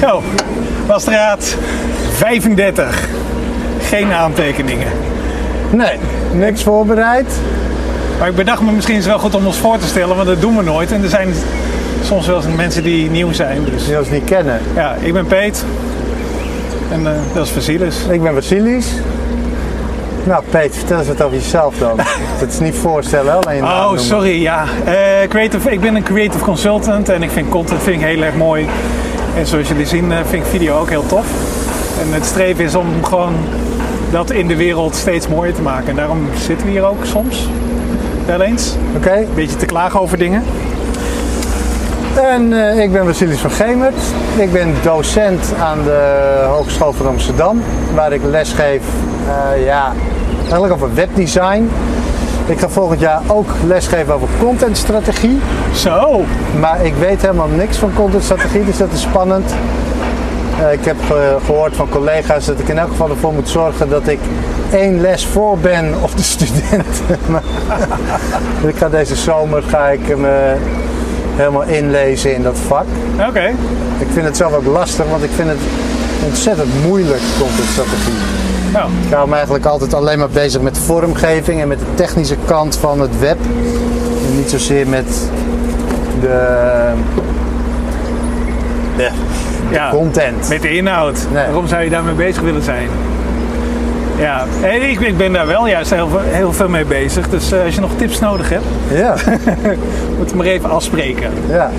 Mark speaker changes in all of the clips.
Speaker 1: Zo, Wasstraat 35. Geen aantekeningen.
Speaker 2: Nee, niks voorbereid.
Speaker 1: Maar ik bedacht me misschien is het wel goed om ons voor te stellen, want dat doen we nooit. En er zijn soms wel eens mensen die nieuw zijn. Dus
Speaker 2: Die ons niet kennen.
Speaker 1: ja, ik ben Peet. En eh, dat is Vasilis.
Speaker 2: Ik ben Vasilis. Nou, Peet, vertel eens wat over jezelf dan. Het is niet voorstellen, alleen je naam
Speaker 1: Oh,
Speaker 2: noemen.
Speaker 1: sorry, ja. Eh, creative, ik ben een creative consultant en ik vind content vind ik heel erg mooi. En zoals jullie zien eh, vind ik video ook heel tof. En het streven is om gewoon dat in de wereld steeds mooier te maken. En daarom zitten we hier ook soms. Wel eens.
Speaker 2: Oké,
Speaker 1: Een beetje te klagen over dingen.
Speaker 2: en eh, ik ben Vasilis van Gemert. Ik ben docent aan de Hogeschool van Amsterdam, waar ik les geef eh, ja, eigenlijk over webdesign. Ik ga volgend jaar ook lesgeven over contentstrategie.
Speaker 1: Zo,
Speaker 2: Maar ik weet helemaal niks van contentstrategie, dus dat is spannend. Eh, ik heb eh, gehoord van collega's dat ik in elk geval ervoor moet zorgen dat ik één les voor ben op de student. Maar- Dus ik ga deze zomer ga ik me helemaal inlezen in dat vak.
Speaker 1: oké.
Speaker 2: Ik vind het zelf ook lastig, want ik vind het ontzettend moeilijk, contentstrategie.
Speaker 1: Nou,
Speaker 2: Ik hou me eigenlijk altijd alleen maar bezig met vormgeving en met de technische kant van het web. En niet zozeer met de, de
Speaker 1: ja.
Speaker 2: content.
Speaker 1: Met de inhoud.
Speaker 2: Nee.
Speaker 1: Waarom zou je daarmee bezig willen zijn? Ja, en ik, ik ben daar wel juist heel, veel- heel veel mee bezig. Dus eh, als je nog tips nodig hebt,
Speaker 2: Ja,
Speaker 1: moet je maar even afspreken.
Speaker 2: ja.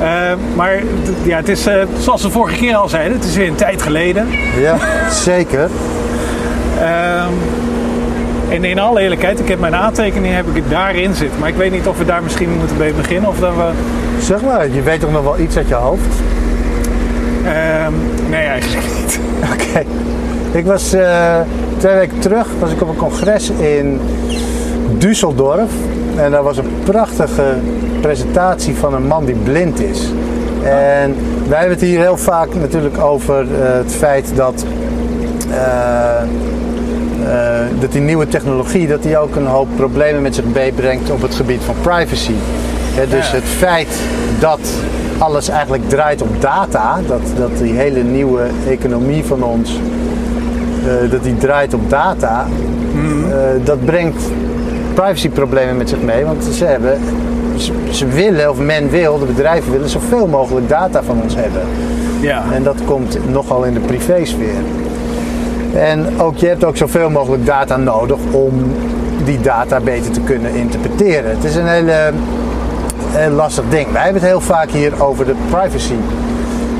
Speaker 1: Eh, maar d- ja, het is eh, zoals we vorige keer al zeiden, het is weer een tijd geleden.
Speaker 2: ja zeker.
Speaker 1: Ehm, en in alle eerlijkheid, ik heb mijn aantekeningen heb ik het daarin zitten. Maar ik weet niet of we daar misschien moeten mee beginnen. Of dat we.
Speaker 2: Zeg maar, je weet toch nog wel iets uit je hoofd?
Speaker 1: ehm, nee, eigenlijk niet.
Speaker 2: Oké. Ik was eh, twee weken terug was ik op een congres in Düsseldorf. En daar was een prachtige presentatie van een man die blind is. En wij hebben het hier heel vaak natuurlijk over eh, het feit dat, eh, eh, dat die nieuwe technologie dat die ook een hoop problemen met zich meebrengt op het gebied van privacy. Hè, dus
Speaker 1: Ja.
Speaker 2: het feit dat alles eigenlijk draait op data, dat, dat die hele nieuwe economie van ons, eh, dat die draait op data, eh, dat brengt privacyproblemen met zich mee. Want ze hebben, ze, ze willen, of men wil, de bedrijven willen zoveel mogelijk data van ons hebben.
Speaker 1: Ja.
Speaker 2: En dat komt nogal in de privésfeer. En ook, je hebt ook zoveel mogelijk data nodig om die data beter te kunnen interpreteren. Het is een hele, heel lastig ding. Wij hebben het heel vaak hier over de privacy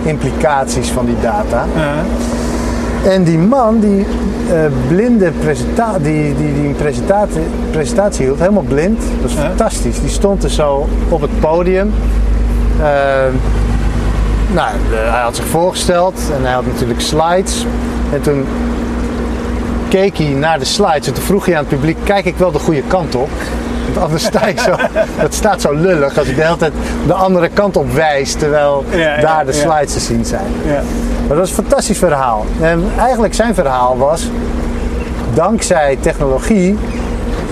Speaker 2: implicaties van die data.
Speaker 1: Eh,
Speaker 2: En die man, die eh, blinde presenta die, die, die een presentatie, presentatie hield, helemaal blind. Dat is
Speaker 1: Ja.
Speaker 2: fantastisch. Die stond er zo op het podium. Eh, nou, de- hij had zich voorgesteld en hij had natuurlijk slides. En toen keek hij naar de slides en toen vroeg hij aan het publiek, kijk ik wel de goede kant op? Want anders sta ik zo, dat staat zo lullig als ik de hele tijd de andere kant op wijs, terwijl
Speaker 1: Ja, ja,
Speaker 2: daar de
Speaker 1: ja.
Speaker 2: slides te zien zijn.
Speaker 1: ja.
Speaker 2: Maar dat is een fantastisch verhaal. En eigenlijk zijn verhaal was, dankzij technologie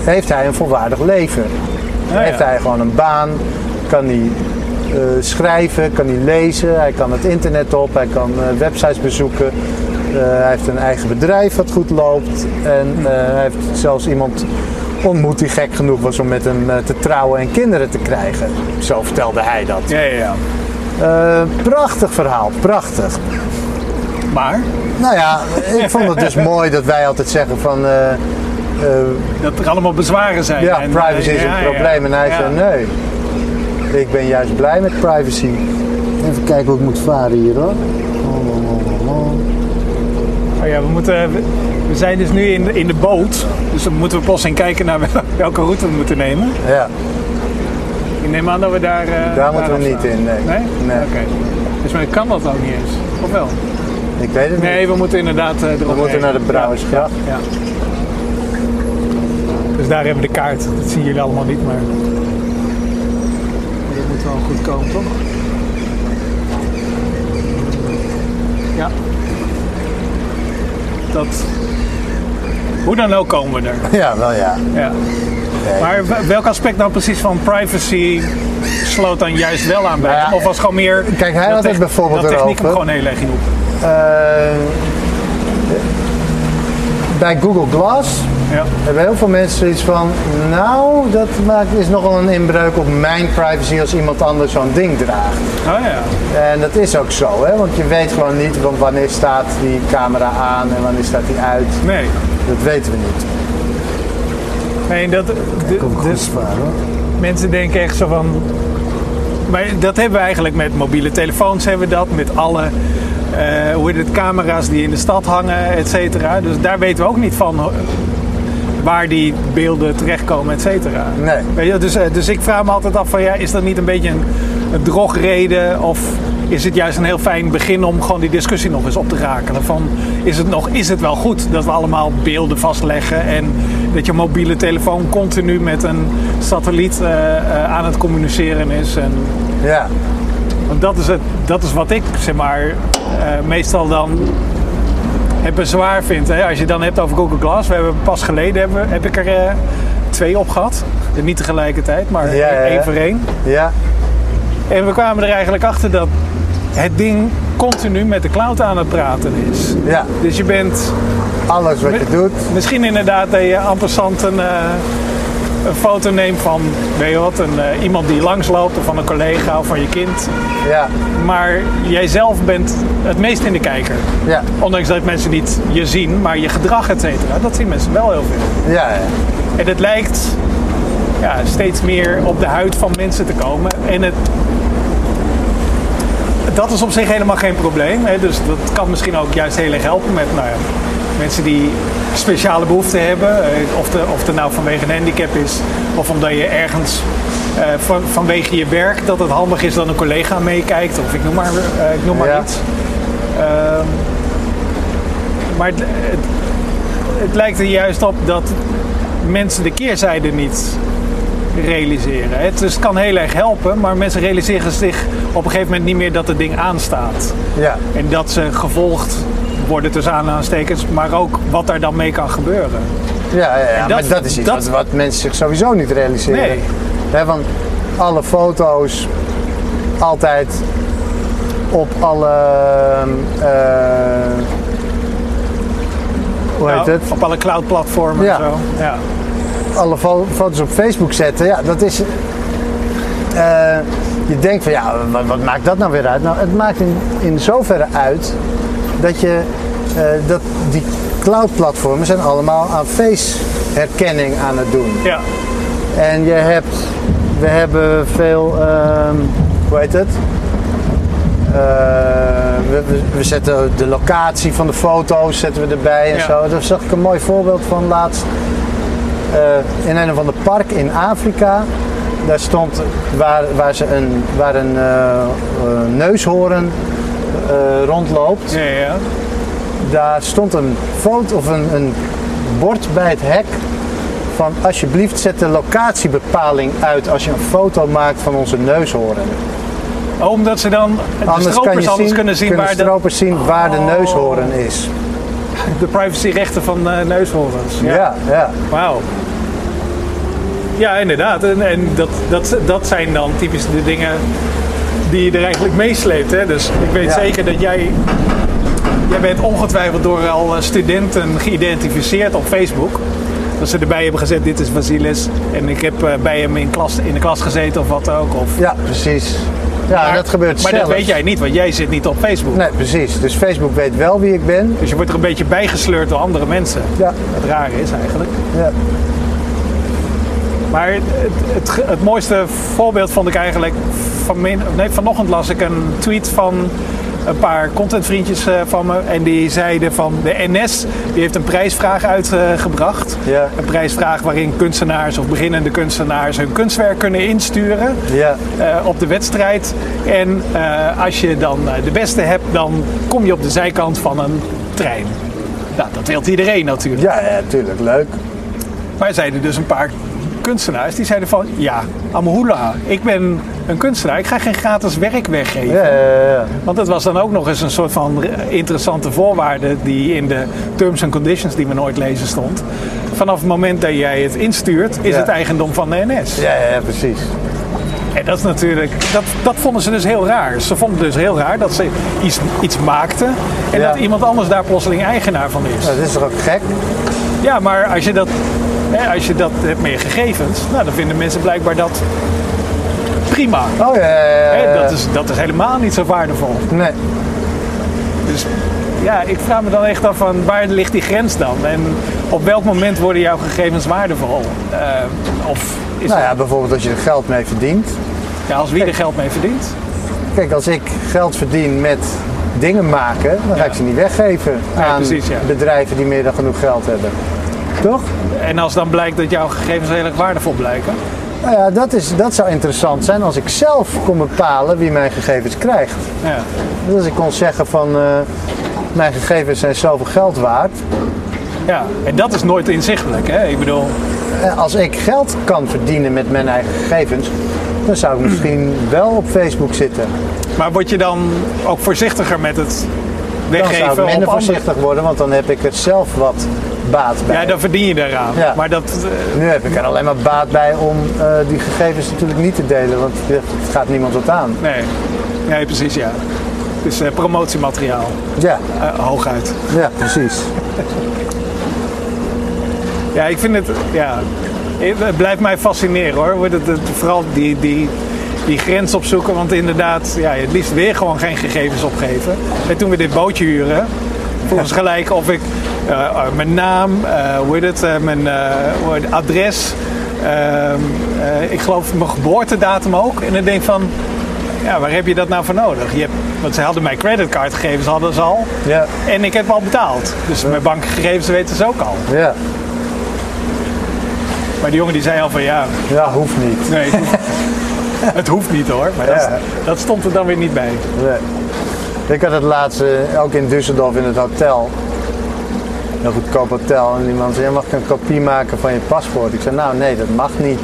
Speaker 2: heeft hij een volwaardig leven.
Speaker 1: Ah, ja.
Speaker 2: Heeft hij gewoon een baan, kan hij eh, schrijven, kan hij lezen, hij kan het internet op, hij kan eh, websites bezoeken. Eh, hij heeft een eigen bedrijf wat goed loopt en eh, hij heeft zelfs iemand ontmoet die gek genoeg was om met hem eh, te trouwen en kinderen te krijgen. Zo vertelde hij dat.
Speaker 1: Ja, ja, ja.
Speaker 2: Eh, prachtig verhaal, prachtig.
Speaker 1: Maar
Speaker 2: Nou ja, ik vond het dus mooi dat wij altijd zeggen van... eh, eh,
Speaker 1: dat er allemaal bezwaren zijn.
Speaker 2: ja,
Speaker 1: En, eh,
Speaker 2: privacy is
Speaker 1: ja,
Speaker 2: een
Speaker 1: ja.
Speaker 2: probleem. En hij
Speaker 1: Ja.
Speaker 2: zei, nee, ik ben juist blij met privacy. Even kijken hoe ik moet varen hier hoor. eh,
Speaker 1: Oh ja, we, moeten, we- we zijn dus nu in, in de boot. Dus dan moeten we plotseling kijken naar wel- welke route we moeten nemen.
Speaker 2: Ja,
Speaker 1: Ik neem aan dat we daar... eh,
Speaker 2: daar moeten we niet
Speaker 1: afslaan.
Speaker 2: in. Nee,
Speaker 1: Nee? Oké. Dus maar kan dat ook niet eens? Of wel?
Speaker 2: ik weet het
Speaker 1: Nee,
Speaker 2: niet.
Speaker 1: we moeten inderdaad eh erop
Speaker 2: We moeten
Speaker 1: heen.
Speaker 2: naar de Brouwersgracht.
Speaker 1: Ja. Dus daar hebben we de kaart. Dat zien jullie allemaal niet, maar... Dat moet wel goed komen, toch? Ja. Dat... Hoe dan ook komen we er.
Speaker 2: Ja, wel ja.
Speaker 1: Ja.
Speaker 2: Nee.
Speaker 1: Maar w- welk aspect nou precies van privacy sloot dan juist wel aan bij
Speaker 2: Nou ja,
Speaker 1: hem? Of was gewoon meer...
Speaker 2: kijk, hij
Speaker 1: dat
Speaker 2: had het
Speaker 1: tech-
Speaker 2: bijvoorbeeld
Speaker 1: Dat techniek hem
Speaker 2: erover.
Speaker 1: gewoon heel erg hielp.
Speaker 2: Eh, bij Google Glass
Speaker 1: Ja.
Speaker 2: hebben heel veel mensen zoiets van... Nou, dat maakt, is nogal een inbreuk op mijn privacy als iemand anders zo'n ding draagt.
Speaker 1: Oh ja.
Speaker 2: En dat is ook zo, hè? want je weet gewoon niet want wanneer staat die camera aan en wanneer staat die uit.
Speaker 1: Nee.
Speaker 2: Dat weten we niet. Dus-
Speaker 1: Nee, dat... de-
Speaker 2: Kom
Speaker 1: de-
Speaker 2: goed sparen hoor.
Speaker 1: Mensen denken echt zo van. Maar dat hebben we eigenlijk met mobiele telefoons, hebben we dat met alle eh, hoe heet het, camera's die in de stad hangen, et cetera. Dus daar weten we ook niet van ho- waar die beelden terechtkomen, et cetera.
Speaker 2: Nee.
Speaker 1: Weet je, dus, eh, dus ik vraag me altijd af van ja, is dat niet een beetje een, een drogreden of is het juist een heel fijn begin om gewoon die discussie nog eens op te rakelen? Van is het, nog, is het wel goed dat we allemaal beelden vastleggen en dat je mobiele telefoon continu met een satelliet eh, eh, aan het communiceren is? En,
Speaker 2: Ja.
Speaker 1: want dat is, het, dat is wat ik zeg maar eh, meestal dan het bezwaar vind. Hè? Als je het dan hebt over Google Glass, we hebben pas geleden hebben, heb ik er eh, twee op gehad. En Niet tegelijkertijd, maar
Speaker 2: Ja, ja, ja.
Speaker 1: één voor één.
Speaker 2: Ja.
Speaker 1: En we kwamen er eigenlijk achter dat het ding continu met de cloud aan het praten is.
Speaker 2: Ja.
Speaker 1: Dus je bent
Speaker 2: Alles wat je doet.
Speaker 1: misschien inderdaad dat je en passant een, eh, een foto neemt van, weet je wat, een, eh, iemand die langsloopt of van een collega of van je kind.
Speaker 2: Ja.
Speaker 1: Maar jijzelf bent het meest in de kijker.
Speaker 2: Ja.
Speaker 1: Ondanks dat mensen niet je zien, maar je gedrag, et cetera, dat zien mensen wel heel veel.
Speaker 2: Ja. ja.
Speaker 1: En het lijkt ja, steeds meer op de huid van mensen te komen. En het, dat is op zich helemaal geen probleem. Hè? Dus dat kan misschien ook juist heel erg helpen met nou ja, mensen die speciale behoeften hebben. eh, Of de, of er nou vanwege een handicap is, of omdat je ergens eh, van, vanwege je werk dat het handig is dat een collega meekijkt. Of ik noem maar, eh, ik noem maar
Speaker 2: Ja.
Speaker 1: iets. Ehm, maar het, het, het lijkt er juist op dat mensen de keerzijde niet realiseren. Het, dus het kan heel erg helpen, maar mensen realiseren zich op een gegeven moment niet meer dat het ding aanstaat.
Speaker 2: ja.
Speaker 1: En dat ze gevolgd worden tussen aanhalingstekens, maar ook wat daar dan mee kan gebeuren.
Speaker 2: Ja, ja, ja,
Speaker 1: En
Speaker 2: maar
Speaker 1: dat-
Speaker 2: dat is iets
Speaker 1: dat-
Speaker 2: wat, wat mensen zich sowieso niet realiseren.
Speaker 1: Nee.
Speaker 2: Hè, want alle foto's altijd op alle. ehm, eh, hoe heet
Speaker 1: Nou,
Speaker 2: het?
Speaker 1: Op alle cloudplatformen
Speaker 2: Ja.
Speaker 1: en zo. Ja.
Speaker 2: alle fo- foto's op Facebook zetten, ja, dat is. eh, je denkt van ja, wat, wat maakt dat nou weer uit? Nou, het maakt in, in zoverre uit dat je. eh, dat die cloud-platformen zijn allemaal aan face-herkenning aan het doen.
Speaker 1: ja.
Speaker 2: En je hebt. We hebben veel. ehm, hoe heet het? Eh, we, we- we zetten de locatie van de foto's zetten we erbij en
Speaker 1: Ja.
Speaker 2: zo. Daar zag ik een mooi voorbeeld van laatst. eh, in een of ander park in Afrika. Daar stond waar, waar, ze een, waar een eh, eh, neushoorn eh, rondloopt
Speaker 1: Ja, ja.
Speaker 2: daar stond een foto of een, een bord bij het hek van alsjeblieft zet de locatiebepaling uit als je een foto maakt van onze neushoorn.
Speaker 1: Oh, Omdat ze dan de stropers anders kunnen zien waar de, Oh.
Speaker 2: stropers zien waar de neushoorn is.
Speaker 1: de privacyrechten van eh neushoorns.
Speaker 2: Ja, ja.
Speaker 1: Wauw. Ja, inderdaad. En, en dat, dat, dat zijn dan typisch de dingen die je er eigenlijk meesleept. Hè? Dus ik weet
Speaker 2: Ja.
Speaker 1: zeker dat jij... Jij bent ongetwijfeld door al eh, studenten geïdentificeerd op Facebook. Dat ze erbij hebben gezet, dit is Vasilis. En ik heb eh, bij hem in, klas, in de klas gezeten of wat ook. Of,
Speaker 2: Ja, precies. Ja,
Speaker 1: Maar-
Speaker 2: dat gebeurt
Speaker 1: Maar
Speaker 2: zelf.
Speaker 1: dat weet jij niet, want jij zit niet op Facebook.
Speaker 2: Nee, precies. Dus Facebook weet wel wie ik ben.
Speaker 1: Dus je wordt er een beetje bijgesleurd door andere mensen.
Speaker 2: Ja,
Speaker 1: Wat raar is eigenlijk.
Speaker 2: ja.
Speaker 1: Maar het, het, het, het mooiste voorbeeld vond ik eigenlijk. Vanmin, nee, vanochtend las ik een tweet van een paar contentvriendjes eh, van me. En die zeiden van de NS die heeft een prijsvraag uitgebracht.
Speaker 2: Ja.
Speaker 1: Een prijsvraag waarin kunstenaars of beginnende kunstenaars hun kunstwerk kunnen insturen
Speaker 2: ja.
Speaker 1: eh, op de wedstrijd. En eh, als je dan eh, de beste hebt, dan kom je op de zijkant van een trein. Nou, dat wilt iedereen natuurlijk.
Speaker 2: Ja, ja, tuurlijk. Leuk.
Speaker 1: Maar zeiden dus een paar kunstenaars, die zeiden van... Ja, Amahula, ik ben een kunstenaar, ik ga geen gratis werk weggeven.
Speaker 2: Ja, ja, ja, ja.
Speaker 1: Want dat was dan ook nog eens een soort van interessante voorwaarde... die in de terms and conditions die we nooit lezen stond. Vanaf het moment dat jij het instuurt, is
Speaker 2: Ja.
Speaker 1: het eigendom van de NS.
Speaker 2: Ja, ja, ja, precies.
Speaker 1: En Nee, dat is natuurlijk. Dat, dat vonden ze dus heel raar. Ze vonden het dus heel raar dat ze iets, iets maakten en
Speaker 2: Ja.
Speaker 1: dat iemand anders daar plotseling eigenaar van is.
Speaker 2: Dat Nou, is toch ook gek?
Speaker 1: Ja, maar als je dat, hè, als je dat hebt meer gegevens, nou, dan vinden mensen blijkbaar dat prima.
Speaker 2: Oh ja, ja, ja,
Speaker 1: Hè,
Speaker 2: ja.
Speaker 1: dat, is, dat is helemaal niet zo waardevol.
Speaker 2: Nee.
Speaker 1: Dus ja, ik vraag me dan echt af van waar ligt die grens dan? En op welk moment worden jouw gegevens waardevol? Eh, of is
Speaker 2: Nou ja, bijvoorbeeld als je er geld mee verdient.
Speaker 1: het, ja, als wie er geld mee verdient?
Speaker 2: Kijk, als ik geld verdien met dingen maken, dan ga
Speaker 1: Ja.
Speaker 2: ik ze niet weggeven
Speaker 1: Ja,
Speaker 2: aan
Speaker 1: precies, ja.
Speaker 2: bedrijven die meer dan genoeg geld hebben. Toch?
Speaker 1: En als dan blijkt dat jouw gegevens heel erg waardevol blijken?
Speaker 2: Nou ja, dat, is, dat zou interessant zijn als ik zelf kon bepalen wie mijn gegevens krijgt.
Speaker 1: Ja.
Speaker 2: Dus als ik kon zeggen van eh, mijn gegevens zijn zoveel geld waard.
Speaker 1: ja. En dat is nooit inzichtelijk, hè? Ik bedoel,
Speaker 2: Eh, Als ik geld kan verdienen met mijn eigen gegevens, dan zou ik misschien wel op Facebook zitten.
Speaker 1: maar word je dan ook voorzichtiger met het
Speaker 2: Dan zou
Speaker 1: weggeven
Speaker 2: ik
Speaker 1: op
Speaker 2: minder
Speaker 1: anderen?
Speaker 2: voorzichtig worden, want dan heb ik er zelf wat baat bij.
Speaker 1: Ja, dan verdien je daaraan.
Speaker 2: Ja.
Speaker 1: Maar dat, eh,
Speaker 2: Nu heb ik er alleen maar baat bij om eh, die gegevens natuurlijk niet te delen, want het gaat niemand wat aan.
Speaker 1: nee. Nee, precies, ja. Dus eh, promotiemateriaal,
Speaker 2: Ja,
Speaker 1: Eh, hooguit.
Speaker 2: ja precies.
Speaker 1: Ja, ik vind het. Ja, het blijft mij fascineren hoor. Wordt het, het- vooral die, die, die grens opzoeken. Want inderdaad, ja, het liefst weer gewoon geen gegevens opgeven. En toen we dit bootje huren, vroeg ons gelijk of ik eh, eh, mijn naam, eh, hoe heet het, eh, mijn eh, hoe heet het, adres. ehm, eh, ik geloof mijn geboortedatum ook. En ik denk van. Ja, waar heb je dat nou voor nodig? Je hebt, want ze hadden mijn creditcardgegevens hadden ze al.
Speaker 2: Ja,
Speaker 1: En ik heb al betaald. Dus mijn bankgegevens weten ze ook al.
Speaker 2: ja,
Speaker 1: Maar die jongen die zei al van ja,
Speaker 2: ja hoeft niet.
Speaker 1: nee, het hoeft, het hoeft niet hoor. Maar
Speaker 2: Ja.
Speaker 1: dat, dat stond er dan weer niet bij.
Speaker 2: Nee. Ik had het laatste ook in Düsseldorf in het hotel. Een goedkoop hotel. En iemand zei, "Ja, mag ik een kopie maken van je paspoort? Ik zei, nou nee, dat mag niet.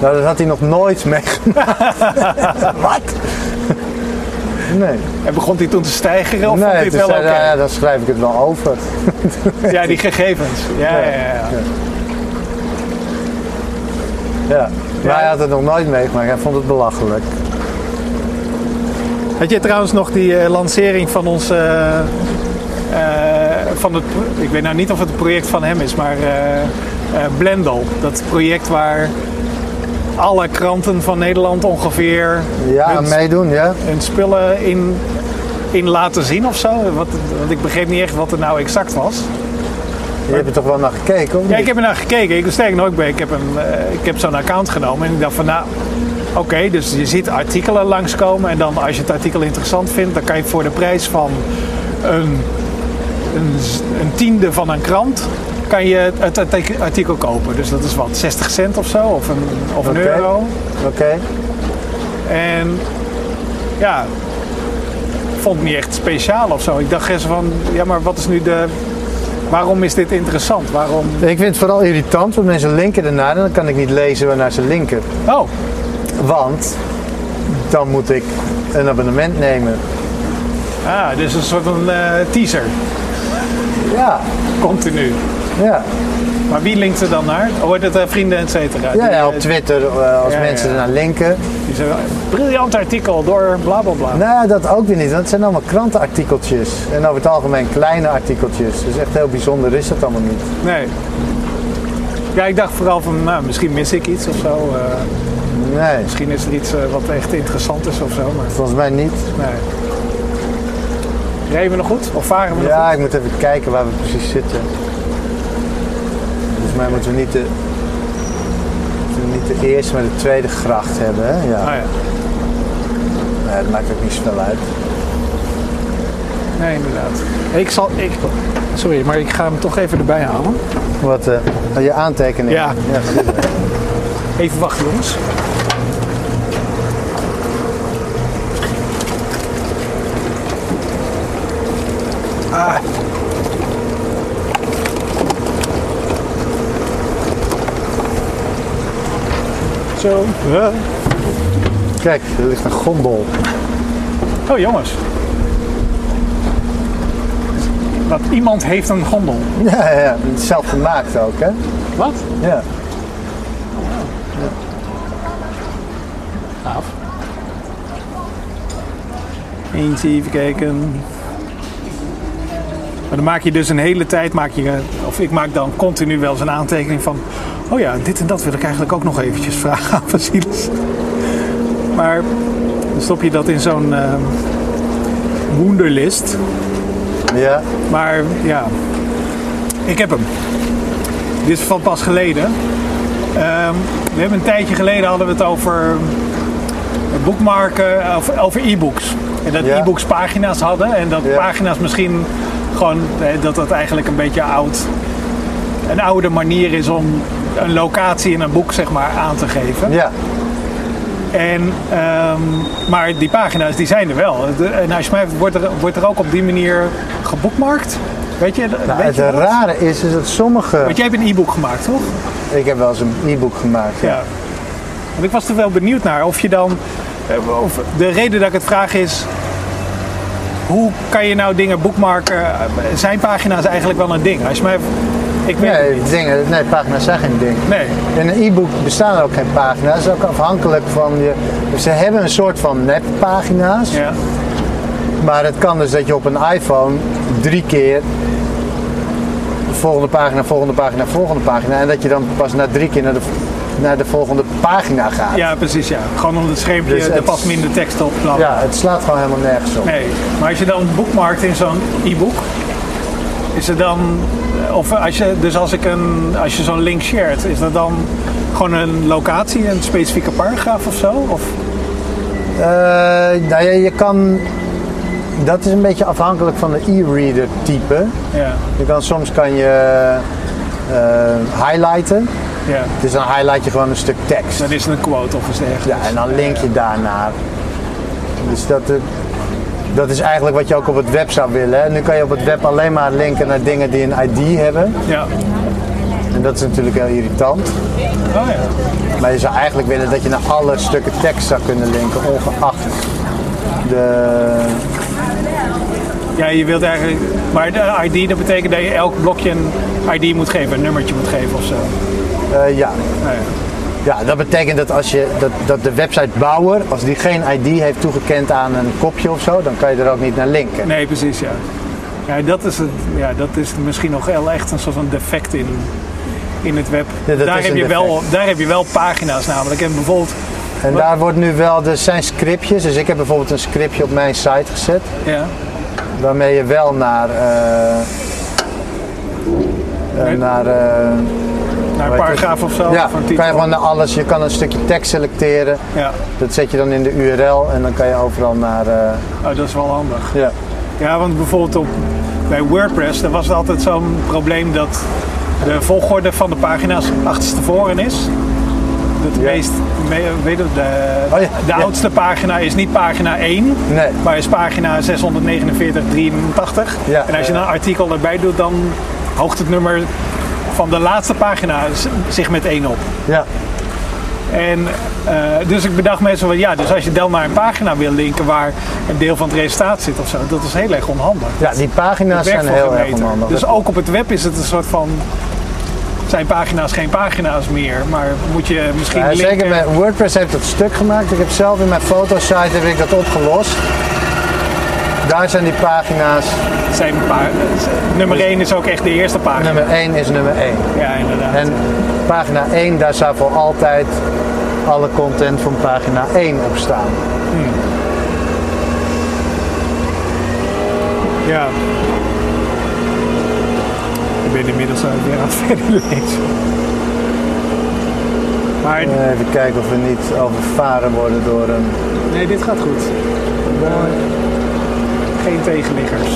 Speaker 2: Nou, dat had hij nog nooit meegemaakt. Wat? Nee.
Speaker 1: En begon hij toen te stijgen of vond hij
Speaker 2: nee,
Speaker 1: het
Speaker 2: toen
Speaker 1: wel oké?
Speaker 2: zei, hij, ja, dan schrijf ik het wel over.
Speaker 1: Ja, die gegevens. Ja, ja, ja. ja.
Speaker 2: Ja. Maar
Speaker 1: Ja.
Speaker 2: hij had het nog nooit meegemaakt. Hij vond het belachelijk.
Speaker 1: Had jij trouwens nog die eh, lancering van ons... eh, eh, van het, pro- ik weet nou niet of het een project van hem is, maar eh, eh, Blendel. Dat project waar alle kranten van Nederland ongeveer
Speaker 2: Ja,
Speaker 1: hun,
Speaker 2: meedoen, ja.
Speaker 1: hun spullen in, in laten zien of zo. Wat, want ik begreep niet echt wat er nou exact was.
Speaker 2: Je hebt er toch wel naar gekeken, of
Speaker 1: Ja,
Speaker 2: niet?
Speaker 1: ik heb er naar gekeken. Ik sterk nog, ik, ben- ik heb, een, eh, ik heb zo'n account genomen en ik dacht van nou, oké, dus je ziet artikelen langskomen en dan als je het artikel interessant vindt, dan kan je voor de prijs van een, een, z- een tiende van een krant, kan je het artik- artikel kopen. Dus dat is wat, 60 cent of zo, of een, of een
Speaker 2: Oké.
Speaker 1: euro.
Speaker 2: Oké.
Speaker 1: En ja, ik vond het niet echt speciaal of zo. Ik dacht gisteren van, ja maar wat is nu de, waarom is dit interessant? Waarom,
Speaker 2: Ik vind het vooral irritant, want mensen linken ernaar en dan kan ik niet lezen waarnaar ze linken.
Speaker 1: oh,
Speaker 2: Want dan moet ik een abonnement nemen.
Speaker 1: Ah, dus een soort van eh, teaser,
Speaker 2: Ja,
Speaker 1: continu.
Speaker 2: ja.
Speaker 1: Maar wie linkt er dan naar? Wordt het eh, vrienden, et cetera?
Speaker 2: ja,
Speaker 1: Die,
Speaker 2: ja op
Speaker 1: eh,
Speaker 2: Twitter, eh, als
Speaker 1: ja,
Speaker 2: mensen
Speaker 1: ja.
Speaker 2: ernaar linken.
Speaker 1: die zeggen, briljant artikel door bla bla bla.
Speaker 2: Nou, dat ook weer niet, want het zijn allemaal krantenartikeltjes. En over het algemeen kleine artikeltjes. Dus echt heel bijzonder is dat allemaal niet.
Speaker 1: Nee. Ja, ik dacht vooral van, nou, misschien mis ik iets of zo. Eh,
Speaker 2: Nee,
Speaker 1: misschien is er iets eh, wat echt interessant is of zo, maar
Speaker 2: volgens mij niet.
Speaker 1: nee. Rijden we nog goed? Of varen we nog
Speaker 2: Ja, ik moet even kijken waar we precies zitten. Volgens mij moeten we niet de, moeten we niet de eerste, maar de tweede gracht hebben. Hè? Ja.
Speaker 1: goed? Ah, ja.
Speaker 2: Nee, dat maakt ook niet zoveel uit.
Speaker 1: Nee, inderdaad. Ik zal, ik, sorry, maar ik ga hem toch even erbij halen.
Speaker 2: Wat eh, je aantekeningen.
Speaker 1: Ja.
Speaker 2: natuurlijk.
Speaker 1: Even wachten, jongens. Ah. Zo.
Speaker 2: Kijk, er ligt een gondel.
Speaker 1: Oh, jongens. Dat iemand heeft een gondel.
Speaker 2: Ja, ja, ja. zelf gemaakt ook, hè?
Speaker 1: Wat?
Speaker 2: Ja.
Speaker 1: Gaaf. Eentje, even kijken. Maar dan maak je dus een hele tijd, maak je, eh, of ik maak dan continu wel eens een aantekening van... Oh ja, dit en dat wil ik eigenlijk ook nog eventjes vragen aan Vasilis. Maar dan stop je dat in zo'n eh wonderlist.
Speaker 2: Ja,
Speaker 1: Maar ja, ik heb hem. Dit is van pas geleden. Ehm, we hebben een tijdje geleden hadden we het over boekmarken, of over e-books. En dat
Speaker 2: Ja.
Speaker 1: e-books pagina's hadden en dat
Speaker 2: Ja.
Speaker 1: pagina's misschien gewoon eh, dat dat eigenlijk een beetje oud, een oude manier is om een locatie in een boek zeg maar aan te geven.
Speaker 2: ja,
Speaker 1: En, ehm, maar die pagina's die zijn er wel. De- en als je mij wordt er, wordt er ook op die manier geboekmarkt. Weet je,
Speaker 2: Nou,
Speaker 1: weet
Speaker 2: het
Speaker 1: je dat?
Speaker 2: rare is, is dat sommige...
Speaker 1: Want jij hebt een e-book gemaakt, toch?
Speaker 2: Ik heb wel eens een e-book gemaakt. Ja.
Speaker 1: Want ik was er wel benieuwd naar of je dan. eh, Of de reden dat ik het vraag is. Hoe kan je nou dingen boekmarken? Zijn pagina's eigenlijk wel een ding? Als je mij. Ik weet het
Speaker 2: Nee,
Speaker 1: niet.
Speaker 2: dingen, nee, pagina's zijn geen ding.
Speaker 1: Nee.
Speaker 2: In een e-book bestaan er ook geen pagina's. Dat is ook afhankelijk van je... Ze hebben een soort van neppagina's.
Speaker 1: Ja.
Speaker 2: Maar het kan dus dat je op een iPhone drie keer volgende pagina, volgende pagina, volgende pagina. En dat je dan pas na drie keer naar de, naar de volgende pagina gaat.
Speaker 1: ja, precies. Ja. Gewoon om het schermpje.
Speaker 2: Dus
Speaker 1: er
Speaker 2: het-
Speaker 1: past minder tekst op. bla, bla,
Speaker 2: Ja, het slaat gewoon helemaal nergens op.
Speaker 1: Nee, maar als je dan boekmarkt in zo'n e-book, is het dan, of als je, dus als, ik een, als je zo'n link shared, is dat dan gewoon een locatie, een specifieke paragraaf of zo? Of,
Speaker 2: Eh, nou ja, je kan... Dat is een beetje afhankelijk van de e-reader type.
Speaker 1: ja,
Speaker 2: Je kan, soms kan je eh, highlighten.
Speaker 1: ja,
Speaker 2: Dus dan highlight je gewoon een stuk tekst.
Speaker 1: dan is het een quote of iets dergelijks.
Speaker 2: Ja, en dan link je daarnaar. Dus dat, eh, dat is eigenlijk wat je ook op het web zou willen. hè. Nu kan je op het web alleen maar linken naar dingen die een ID hebben.
Speaker 1: Ja,
Speaker 2: En dat is natuurlijk heel irritant.
Speaker 1: oh ja.
Speaker 2: Maar je zou eigenlijk willen dat je naar alle stukken tekst zou kunnen linken, ongeacht de...
Speaker 1: Ja, je wilt eigenlijk, maar de ID, dat betekent dat je elk blokje een ID moet geven, een nummertje moet geven of zo.
Speaker 2: eh, ja.
Speaker 1: Nou ja.
Speaker 2: ja, dat betekent dat, als je, dat, dat de websitebouwer, als die geen ID heeft toegekend aan een kopje of zo, dan kan je er ook niet naar linken.
Speaker 1: Nee, precies, ja. Ja, dat is, het, ja, dat is misschien nog heel echt een soort van defect in, in het web.
Speaker 2: Ja, dat
Speaker 1: daar,
Speaker 2: is
Speaker 1: heb
Speaker 2: een
Speaker 1: je wel,
Speaker 2: defect.
Speaker 1: daar heb je wel pagina's namelijk. En bijvoorbeeld,
Speaker 2: En daar wordt nu wel, er zijn scriptjes. Dus ik heb bijvoorbeeld een scriptje op mijn site gezet.
Speaker 1: ja,
Speaker 2: waarmee je wel naar, eh, eh,
Speaker 1: Nee.
Speaker 2: naar eh,
Speaker 1: naar een
Speaker 2: Weet
Speaker 1: paragraaf of zo. of
Speaker 2: ja,
Speaker 1: een
Speaker 2: kan je
Speaker 1: titel.
Speaker 2: gewoon naar alles. Je kan een stukje tekst selecteren.
Speaker 1: ja.
Speaker 2: Dat zet je dan in de URL en dan kan je overal naar. eh,
Speaker 1: Oh, dat is wel handig.
Speaker 2: ja.
Speaker 1: Ja, want bijvoorbeeld op, bij WordPress, daar was het altijd zo'n probleem dat de volgorde van de pagina's achterstevoren is. Dat de
Speaker 2: Ja.
Speaker 1: meest, me- weet je, de,
Speaker 2: Oh ja,
Speaker 1: de
Speaker 2: ja.
Speaker 1: oudste pagina is niet pagina 1,
Speaker 2: Nee.
Speaker 1: maar is pagina 649, 83.
Speaker 2: Ja,
Speaker 1: en als je
Speaker 2: ja.
Speaker 1: een artikel erbij doet, dan hoogt het nummer van de laatste pagina z- zich met 1 op.
Speaker 2: Ja.
Speaker 1: En eh, dus ik bedacht meestal van ja, dus als je dan naar een pagina wil linken waar een deel van het resultaat zit of zo, dat is heel erg onhandig.
Speaker 2: ja, die pagina's zijn
Speaker 1: Werkvlak
Speaker 2: heel erg
Speaker 1: gemeten.
Speaker 2: onhandig.
Speaker 1: Dus ook op het web is het een soort van. Zijn pagina's geen pagina's meer, maar moet je misschien
Speaker 2: Ja,
Speaker 1: linken.
Speaker 2: zeker met WordPress heeft dat stuk gemaakt. Ik heb zelf in mijn fotosite heb ik dat opgelost. Daar zijn die pagina's.
Speaker 1: Zijn pa- nummer 1 is ook echt de eerste pagina.
Speaker 2: Dus- Nummer 1 is nummer 1.
Speaker 1: Ja, inderdaad.
Speaker 2: En pagina 1, daar zou voor altijd alle content van pagina 1 op staan.
Speaker 1: Ja. Ik ben inmiddels al weer aan het verder lezen. Maar
Speaker 2: Even kijken of we niet overvaren worden door een.
Speaker 1: nee, dit gaat goed. Mooi. Geen tegenliggers.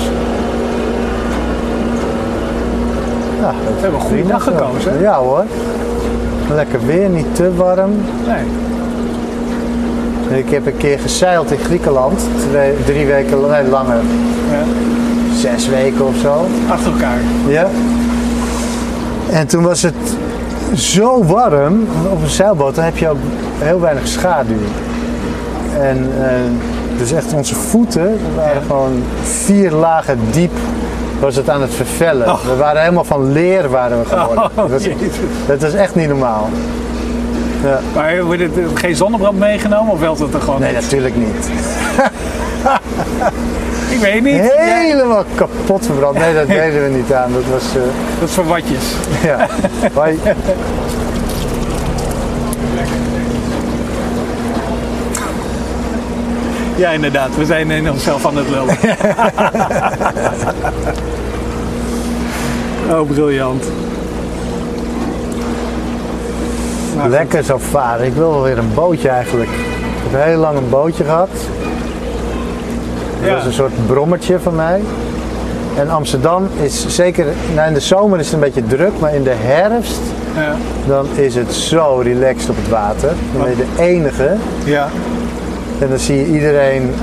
Speaker 2: Ja, we
Speaker 1: hebben een goede dag gekozen.
Speaker 2: Ja hoor. Lekker weer, niet te warm.
Speaker 1: Nee.
Speaker 2: Ik heb een keer gezeild in Griekenland. Twee, drie weken, nee, langer.
Speaker 1: Ja.
Speaker 2: Zes weken of zo.
Speaker 1: Achter elkaar.
Speaker 2: Ja. En toen was het zo warm op een zeilboot, dan heb je ook heel weinig schaduw. En eh, dus echt onze voeten waren gewoon vier lagen diep was het aan het vervellen. We waren helemaal van leer waren we geworden.
Speaker 1: Oh,
Speaker 2: dat, was,
Speaker 1: jezus.
Speaker 2: dat was echt niet normaal. Ja.
Speaker 1: Maar wordt het eh, geen zonnebrand meegenomen of wel het er gewoon?
Speaker 2: Nee, natuurlijk niet.
Speaker 1: Ik weet niet.
Speaker 2: Helemaal kapot verbrand. Nee, dat deden we niet aan. Dat was. eh,
Speaker 1: Dat is voor watjes.
Speaker 2: Ja, hoi.
Speaker 1: Ja, inderdaad. We zijn in onszelf aan het lullen. oh, briljant. Nou,
Speaker 2: Lekker zo varen. Ik wil wel weer een bootje eigenlijk. Ik heb heel lang een bootje gehad. Dat
Speaker 1: Ja.
Speaker 2: was een soort brommertje van mij. En Amsterdam is zeker, nou in de zomer is het een beetje druk, maar in de herfst
Speaker 1: Ja.
Speaker 2: dan is het zo relaxed op het water. Dan ben je de enige.
Speaker 1: ja.
Speaker 2: En dan zie je iedereen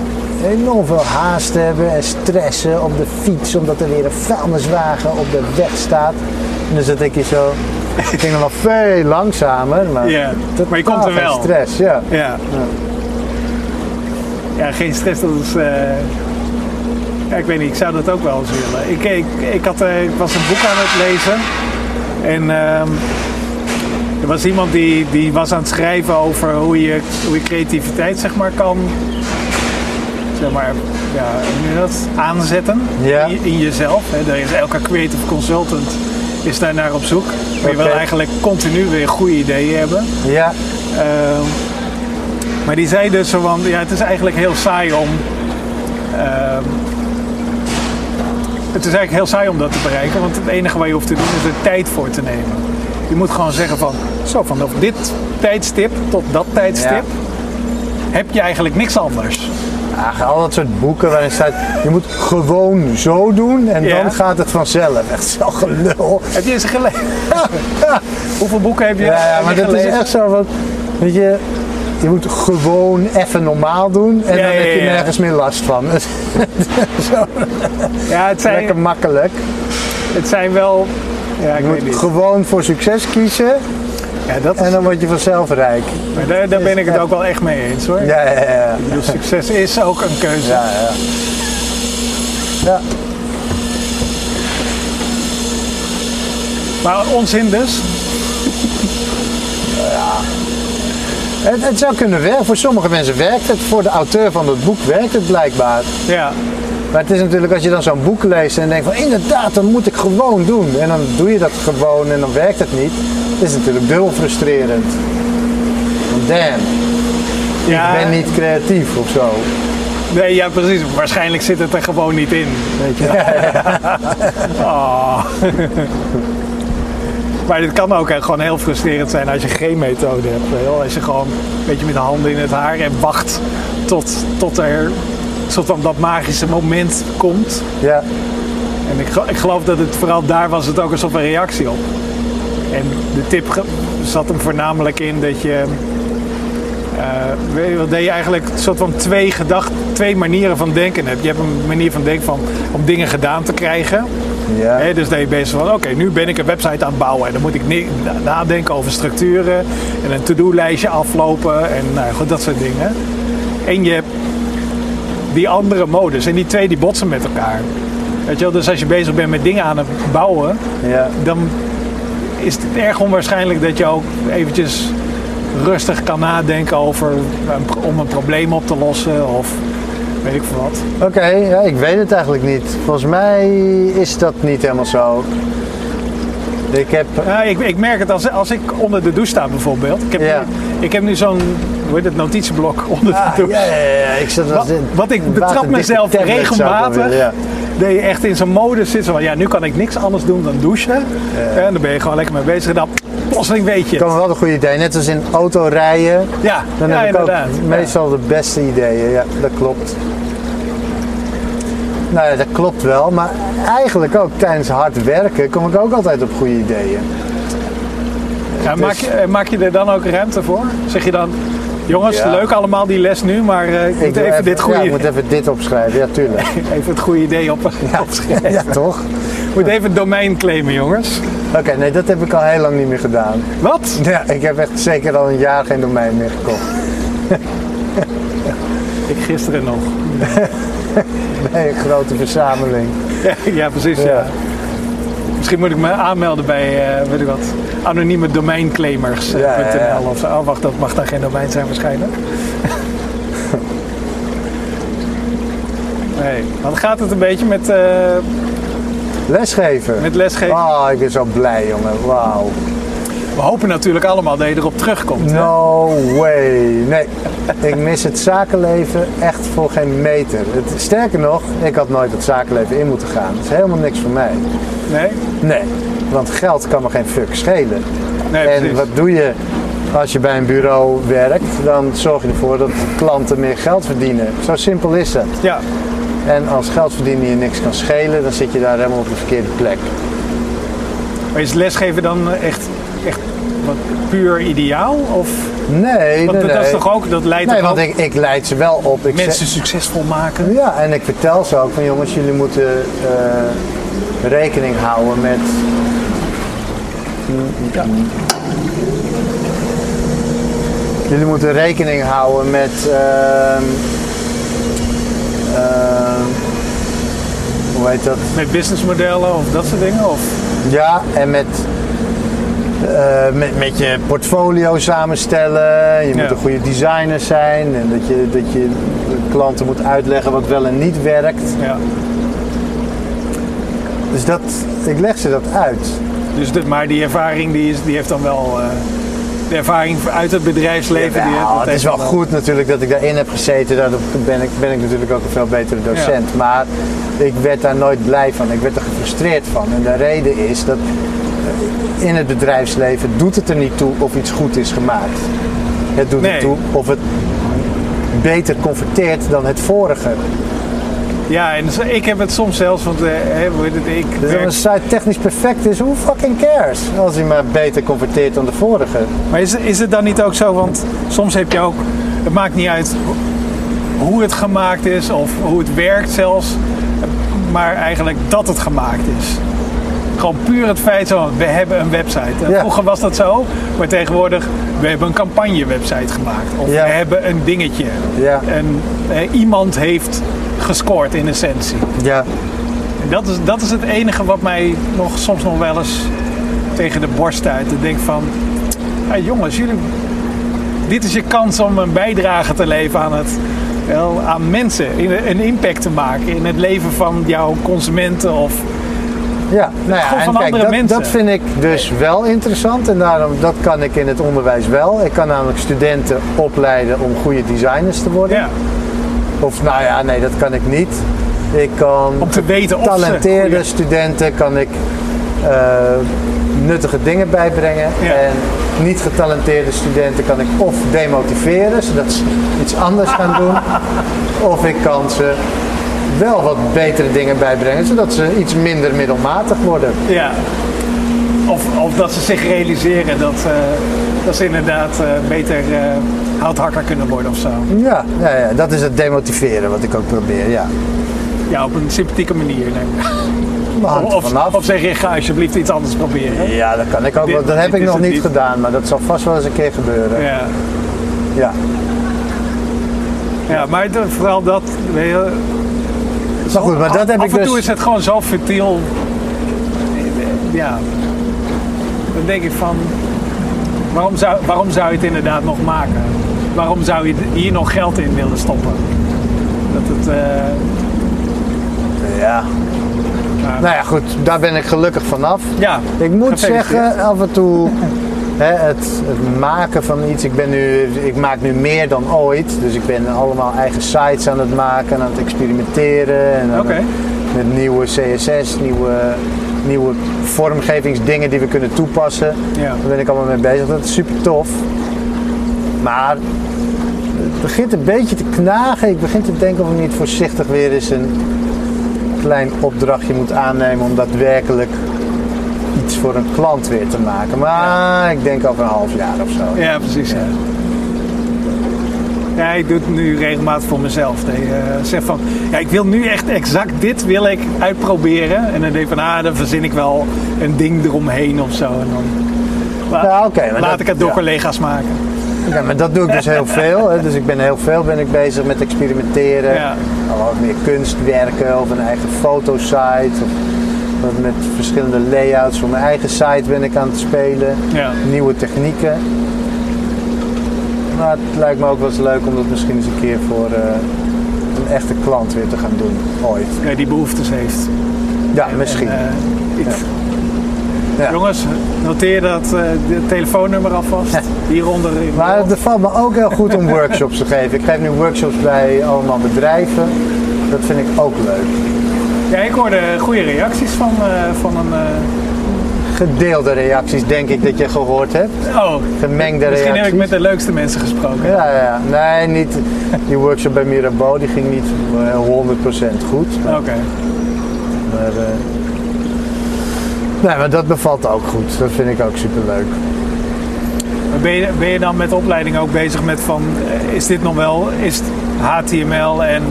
Speaker 2: enorm veel haast hebben en stressen op de fiets, omdat er weer een vuilniswagen op de weg staat. En dus dat ik je zo. Het ging nog veel langzamer, maar,
Speaker 1: Ja,
Speaker 2: totaal
Speaker 1: maar je komt er
Speaker 2: geen
Speaker 1: wel.
Speaker 2: stress, ja.
Speaker 1: Ja. Ja, geen stress, dat is... eh, Ja, ik weet niet, ik zou dat ook wel eens willen. Ik, ik, ik, had, eh, ik was een boek aan het lezen. En ehm, er was iemand die, die was aan het schrijven over hoe je, hoe je creativiteit, zeg maar, kan... Zeg maar, ja, hoe noem je dat? Aanzetten
Speaker 2: Ja.
Speaker 1: in, je- in jezelf. Hè. Daar is elke creative consultant is daar naar op zoek. Maar je wil
Speaker 2: Oké.
Speaker 1: eigenlijk continu weer goede ideeën hebben.
Speaker 2: Ja,
Speaker 1: Ehm, maar die zei dus zo van, ja, het is eigenlijk heel saai om. ehm, het is eigenlijk heel saai om dat te bereiken, want het enige waar je hoeft te doen is er tijd voor te nemen. Je moet gewoon zeggen van, zo vanaf dit tijdstip tot dat tijdstip heb je eigenlijk niks anders.
Speaker 2: Ach, al dat soort boeken waarin staat, je moet gewoon zo doen en
Speaker 1: Ja.
Speaker 2: dan gaat het vanzelf. Echt zo gelul.
Speaker 1: Heb je eens gelezen? Hoeveel boeken heb je,
Speaker 2: Ja,
Speaker 1: heb je
Speaker 2: maar dat is
Speaker 1: gelezen?
Speaker 2: echt zo, want weet je, je moet gewoon even normaal doen en
Speaker 1: Ja,
Speaker 2: dan
Speaker 1: ja,
Speaker 2: heb je
Speaker 1: ja.
Speaker 2: nergens meer last van.
Speaker 1: Ja, het zijn,
Speaker 2: Lekker makkelijk.
Speaker 1: het zijn wel... Ja, ik
Speaker 2: Je
Speaker 1: weet
Speaker 2: moet
Speaker 1: niet.
Speaker 2: gewoon voor succes kiezen
Speaker 1: Ja, dat
Speaker 2: en
Speaker 1: is,
Speaker 2: dan word je vanzelf rijk.
Speaker 1: maar daar, daar ben ik het ook wel echt mee eens hoor.
Speaker 2: Ja, ja, ja.
Speaker 1: Ik bedoel, succes is ook een keuze.
Speaker 2: ja, ja. ja.
Speaker 1: Maar onzin dus.
Speaker 2: Het, het zou kunnen werken. Voor sommige mensen werkt het. Voor de auteur van dat boek werkt het blijkbaar.
Speaker 1: Ja.
Speaker 2: Maar het is natuurlijk als je dan zo'n boek leest en denkt van inderdaad, dat moet ik gewoon doen. En dan doe je dat gewoon en dan werkt het niet. Het is natuurlijk dubbel frustrerend. Want damn,
Speaker 1: ja.
Speaker 2: ik ben niet creatief of zo.
Speaker 1: Nee, ja, precies. Waarschijnlijk zit het er gewoon niet in.
Speaker 2: Weet je? Ja,
Speaker 1: Ah. maar dit kan ook hè, gewoon heel frustrerend zijn als je geen methode hebt. weet je wel. Als je gewoon een beetje met de handen in het haar en wacht tot, tot er tot dan dat magische moment komt.
Speaker 2: ja.
Speaker 1: En ik, gel- ik geloof dat het vooral daar was het ook een soort van reactie op. En de tip ge- zat hem voornamelijk in dat je... eh, weet je wat, dat je eigenlijk een soort van twee, gedacht, twee manieren van denken hebt. Je hebt een manier van denken van, om dingen gedaan te krijgen.
Speaker 2: ja.
Speaker 1: Hè, dus dat je bezig van, oké, nu ben ik een website aan het bouwen. En dan moet ik ni- na- nadenken over structuren en een to-do-lijstje aflopen en nou, ja, goed, dat soort dingen. En je hebt die andere modus. En die twee die botsen met elkaar. Weet je wel, dus als je bezig bent met dingen aan het bouwen,
Speaker 2: ja.
Speaker 1: dan is het erg onwaarschijnlijk dat je ook eventjes rustig kan nadenken over een pro- om een probleem op te lossen of weet ik veel wat.
Speaker 2: Oké, ja, ik weet het eigenlijk niet. Volgens mij is dat niet helemaal zo. Ik heb... eh,
Speaker 1: Ja, Eh, ik, ik merk het als, als ik onder de douche sta bijvoorbeeld. Ik heb,
Speaker 2: Ja.
Speaker 1: nu, ik heb nu zo'n, hoe heet het, notitieblok onder de
Speaker 2: Ah,
Speaker 1: douche.
Speaker 2: ja, ja, ja, ik zat wel
Speaker 1: Wat,
Speaker 2: in-
Speaker 1: wat ik
Speaker 2: een
Speaker 1: betrap
Speaker 2: waterdichte
Speaker 1: mezelf
Speaker 2: tablet zou ik wel
Speaker 1: regelmatig.
Speaker 2: willen, ja.
Speaker 1: Dat je echt in zo'n modus zit van ja, nu kan ik niks anders doen dan douchen. En dan ben je gewoon lekker mee bezig. En dan plotseling weet je
Speaker 2: Ik
Speaker 1: het.
Speaker 2: had wel een goed idee. Net als in autorijden.
Speaker 1: Ja,
Speaker 2: Dan
Speaker 1: ja
Speaker 2: heb ik
Speaker 1: inderdaad.
Speaker 2: ook meestal de beste ideeën. Ja, dat klopt. Nou ja, dat klopt wel. Maar eigenlijk ook tijdens hard werken kom ik ook altijd op goede ideeën.
Speaker 1: Ja, maak, je,
Speaker 2: dus-
Speaker 1: eh, maak je er dan ook ruimte voor? Zeg je dan, jongens,
Speaker 2: Ja.
Speaker 1: leuk allemaal die les nu, maar eh, ik moet
Speaker 2: doe
Speaker 1: even, dit goede,
Speaker 2: ja, ik moet even dit opschrijven. Ja, tuurlijk.
Speaker 1: even het goede idee op, opschrijven.
Speaker 2: ja, toch?
Speaker 1: Ik moet even het domein claimen, jongens.
Speaker 2: Oké, nee, dat heb ik al heel lang niet meer gedaan.
Speaker 1: Wat?
Speaker 2: Ja, ik heb echt zeker al een jaar geen domein meer gekocht.
Speaker 1: Ik gisteren nog.
Speaker 2: Nee, een grote verzameling.
Speaker 1: ja, precies. Ja.
Speaker 2: Ja.
Speaker 1: Misschien moet ik me aanmelden bij, eh weet ik wat, anonieme domeinclaimers.nl
Speaker 2: Ja, ja, ja.
Speaker 1: of zo. Oh, wacht, dat mag daar geen domein zijn waarschijnlijk. nee, wat gaat het een beetje met, eh,
Speaker 2: Lesgeven.
Speaker 1: met lesgeven?
Speaker 2: Ah, ik ben zo blij, jongen. Wauw.
Speaker 1: We hopen natuurlijk allemaal dat je erop terugkomt. hè?
Speaker 2: No way. Nee, ik mis het zakenleven echt voor geen meter. Het, sterker nog, ik had nooit het zakenleven in moeten gaan. Dat is helemaal niks voor mij.
Speaker 1: Nee?
Speaker 2: Nee, want geld kan me geen fuck schelen.
Speaker 1: Nee,
Speaker 2: en
Speaker 1: precies.
Speaker 2: wat doe je als je bij een bureau werkt? Dan zorg je ervoor dat klanten meer geld verdienen. Zo simpel is het.
Speaker 1: Ja,
Speaker 2: En als geldverdienen je niks kan schelen, dan zit je daar helemaal op de verkeerde plek.
Speaker 1: maar is lesgeven dan echt, echt wat puur ideaal? Of,
Speaker 2: Nee,
Speaker 1: want
Speaker 2: nee,
Speaker 1: dat is
Speaker 2: nee.
Speaker 1: toch ook, dat leidt
Speaker 2: Nee,
Speaker 1: toch
Speaker 2: want
Speaker 1: ook
Speaker 2: ik, ik leid ze wel op. Ik zeg-
Speaker 1: mensen succesvol maken?
Speaker 2: Ja, en ik vertel ze ook van jongens, jullie moeten eh, rekening houden met.
Speaker 1: Ja.
Speaker 2: Jullie moeten rekening houden met. ehm, ehm, hoe heet dat?
Speaker 1: Met businessmodellen of dat soort dingen? Of,
Speaker 2: Ja, en met, eh, met, met je portfolio samenstellen. Je
Speaker 1: Ja.
Speaker 2: moet een goede designer zijn. En dat je, dat je klanten moet uitleggen wat wel en niet werkt.
Speaker 1: ja.
Speaker 2: Dus dat, ik leg ze dat uit.
Speaker 1: Dus dit, maar die ervaring die is, die heeft dan wel. eh, de ervaring uit het bedrijfsleven. die heeft,
Speaker 2: Ja,
Speaker 1: dat
Speaker 2: het
Speaker 1: heeft
Speaker 2: is wel
Speaker 1: dan
Speaker 2: goed natuurlijk dat ik daarin heb gezeten. Daardoor ben ik, ben ik natuurlijk ook een veel betere docent. Maar ik werd daar nooit blij van. Ik werd er gefrustreerd van. En de reden is dat eh, in het bedrijfsleven doet het er niet toe of iets goed is gemaakt. Het doet
Speaker 1: Nee.
Speaker 2: er toe of het beter converteert dan het vorige.
Speaker 1: Ja, en dus ik heb het soms zelfs, want eh, hè, hoe heet het, ik.
Speaker 2: Dus
Speaker 1: werk-
Speaker 2: als een site technisch perfect is, who fucking cares? Als hij maar beter converteert dan de vorige.
Speaker 1: Maar is, is het dan niet ook zo? Want soms heb je ook. Het maakt niet uit ho- hoe het gemaakt is of hoe het werkt zelfs. Maar eigenlijk dat het gemaakt is. Gewoon puur het feit zo, we hebben een website. En
Speaker 2: Ja.
Speaker 1: Vroeger was dat zo, maar tegenwoordig, we hebben een campagne-website gemaakt. Of
Speaker 2: Ja.
Speaker 1: we hebben een dingetje.
Speaker 2: Ja.
Speaker 1: En eh, iemand heeft gescoord in essentie.
Speaker 2: Ja,
Speaker 1: En dat, is, dat is het enige wat mij nog, soms nog wel eens tegen de borst uit. Ik denk van, "Ah, jongens, jullie, dit is je kans om een bijdrage te leveren aan, het, wel, aan mensen. In, een impact te maken in het leven van jouw consumenten. Of,
Speaker 2: Ja, nou ja,
Speaker 1: Gewoon
Speaker 2: en
Speaker 1: van
Speaker 2: kijk,
Speaker 1: andere
Speaker 2: dat,
Speaker 1: mensen.
Speaker 2: dat vind ik dus wel interessant en daarom dat kan ik in het onderwijs wel. Ik kan namelijk studenten opleiden om goede designers te worden.
Speaker 1: ja,
Speaker 2: Of nou ja, nee, dat kan ik niet. Ik kan
Speaker 1: om te weten of ze
Speaker 2: talenteerde
Speaker 1: goede-
Speaker 2: studenten kan ik eh, nuttige dingen bijbrengen
Speaker 1: Ja.
Speaker 2: en niet getalenteerde studenten kan ik of demotiveren zodat ze iets anders gaan doen, of ik kan ze wel wat betere dingen bijbrengen zodat ze iets minder middelmatig worden.
Speaker 1: Ja. Of, of dat ze zich realiseren dat, eh, dat ze inderdaad eh, beter eh, houthakker kunnen worden of zo.
Speaker 2: Ja, ja, ja, dat is het demotiveren wat ik ook probeer, ja.
Speaker 1: Ja, op een sympathieke manier. denk ik.
Speaker 2: Maar hangt er
Speaker 1: Of,
Speaker 2: vanaf.
Speaker 1: of zeg je, ga alsjeblieft iets anders proberen.
Speaker 2: Ja, dat kan ik ook wel.
Speaker 1: Dit-
Speaker 2: Dat heb
Speaker 1: dit
Speaker 2: ik
Speaker 1: is
Speaker 2: nog
Speaker 1: het
Speaker 2: niet
Speaker 1: niet.
Speaker 2: gedaan, maar dat zal vast wel eens een keer gebeuren. Ja.
Speaker 1: Ja,
Speaker 2: Ja,
Speaker 1: ja maar de- vooral dat... weet je,
Speaker 2: Maar goed, maar dat heb
Speaker 1: af
Speaker 2: ik
Speaker 1: en toe
Speaker 2: dus-
Speaker 1: is het gewoon zo futiel. Ja. Dan denk ik van... Waarom zou, waarom zou je het inderdaad nog maken? Waarom zou je hier nog geld in willen stoppen? Dat het... eh, Ja.
Speaker 2: Nou ja, goed, daar ben ik gelukkig vanaf.
Speaker 1: ja,
Speaker 2: Ik moet
Speaker 1: gefeliciteerd.
Speaker 2: zeggen, af en toe hè, het, het maken van iets. Ik, ben nu, ik maak nu meer dan ooit. Dus ik ben allemaal eigen sites aan het maken en aan het experimenteren. En aan
Speaker 1: Oké.
Speaker 2: het- met nieuwe CSS, nieuwe, nieuwe vormgevingsdingen die we kunnen toepassen.
Speaker 1: Ja.
Speaker 2: Daar ben ik allemaal mee bezig. Dat is super tof. Maar het begint een beetje te knagen. Ik begin te denken of ik niet voorzichtig weer eens een klein opdrachtje moet aannemen om daadwerkelijk iets voor een klant weer te maken. Maar ik denk over een half jaar of zo.
Speaker 1: Ja, precies. Ja. Ja, ik doe het nu regelmatig voor mezelf. Ik eh, zeg van, ja, ik wil nu echt exact dit wil ik uitproberen. En dan denk ik van, ah, dan verzin ik wel een ding eromheen of zo. En dan la-
Speaker 2: Ja, oké, maar
Speaker 1: laat
Speaker 2: dat-
Speaker 1: ik het door
Speaker 2: ja.
Speaker 1: collega's maken.
Speaker 2: Ja, maar dat doe ik dus heel veel. Hè. Dus ik ben heel veel ben ik bezig met experimenteren.
Speaker 1: Ja.
Speaker 2: Al wat meer kunstwerken of een eigen fotosite. Of Want Met verschillende layouts van mijn eigen site ben ik aan het spelen.
Speaker 1: Ja.
Speaker 2: Nieuwe technieken. Maar het lijkt me ook wel eens leuk om dat misschien eens een keer voor eh, een echte klant weer te gaan doen. Ooit.
Speaker 1: Ja, die behoeftes heeft.
Speaker 2: Ja, misschien.
Speaker 1: En, eh, iets.
Speaker 2: Ja.
Speaker 1: Jongens, noteer dat eh de telefoonnummer alvast. Hieronder. in de-
Speaker 2: Maar het valt me ook heel goed om workshops te geven. Ik geef nu workshops bij allemaal bedrijven. Dat vind ik ook leuk.
Speaker 1: Ja, ik hoorde goede reacties van, eh, van een. eh,
Speaker 2: Gedeelde reacties denk ik dat je gehoord hebt.
Speaker 1: Oh,
Speaker 2: Gemengde
Speaker 1: misschien heb ik
Speaker 2: reacties.
Speaker 1: met de leukste mensen gesproken.
Speaker 2: Ja, ja. Nee, niet. Die workshop bij Mirabeau die ging niet eh, 100% goed.
Speaker 1: Oké.
Speaker 2: Maar, eh, nee, maar dat bevalt ook goed. Dat vind ik ook superleuk.
Speaker 1: Maar Ben je, ben je dan met de opleiding ook bezig met van, eh, is dit nog wel, is het HTML en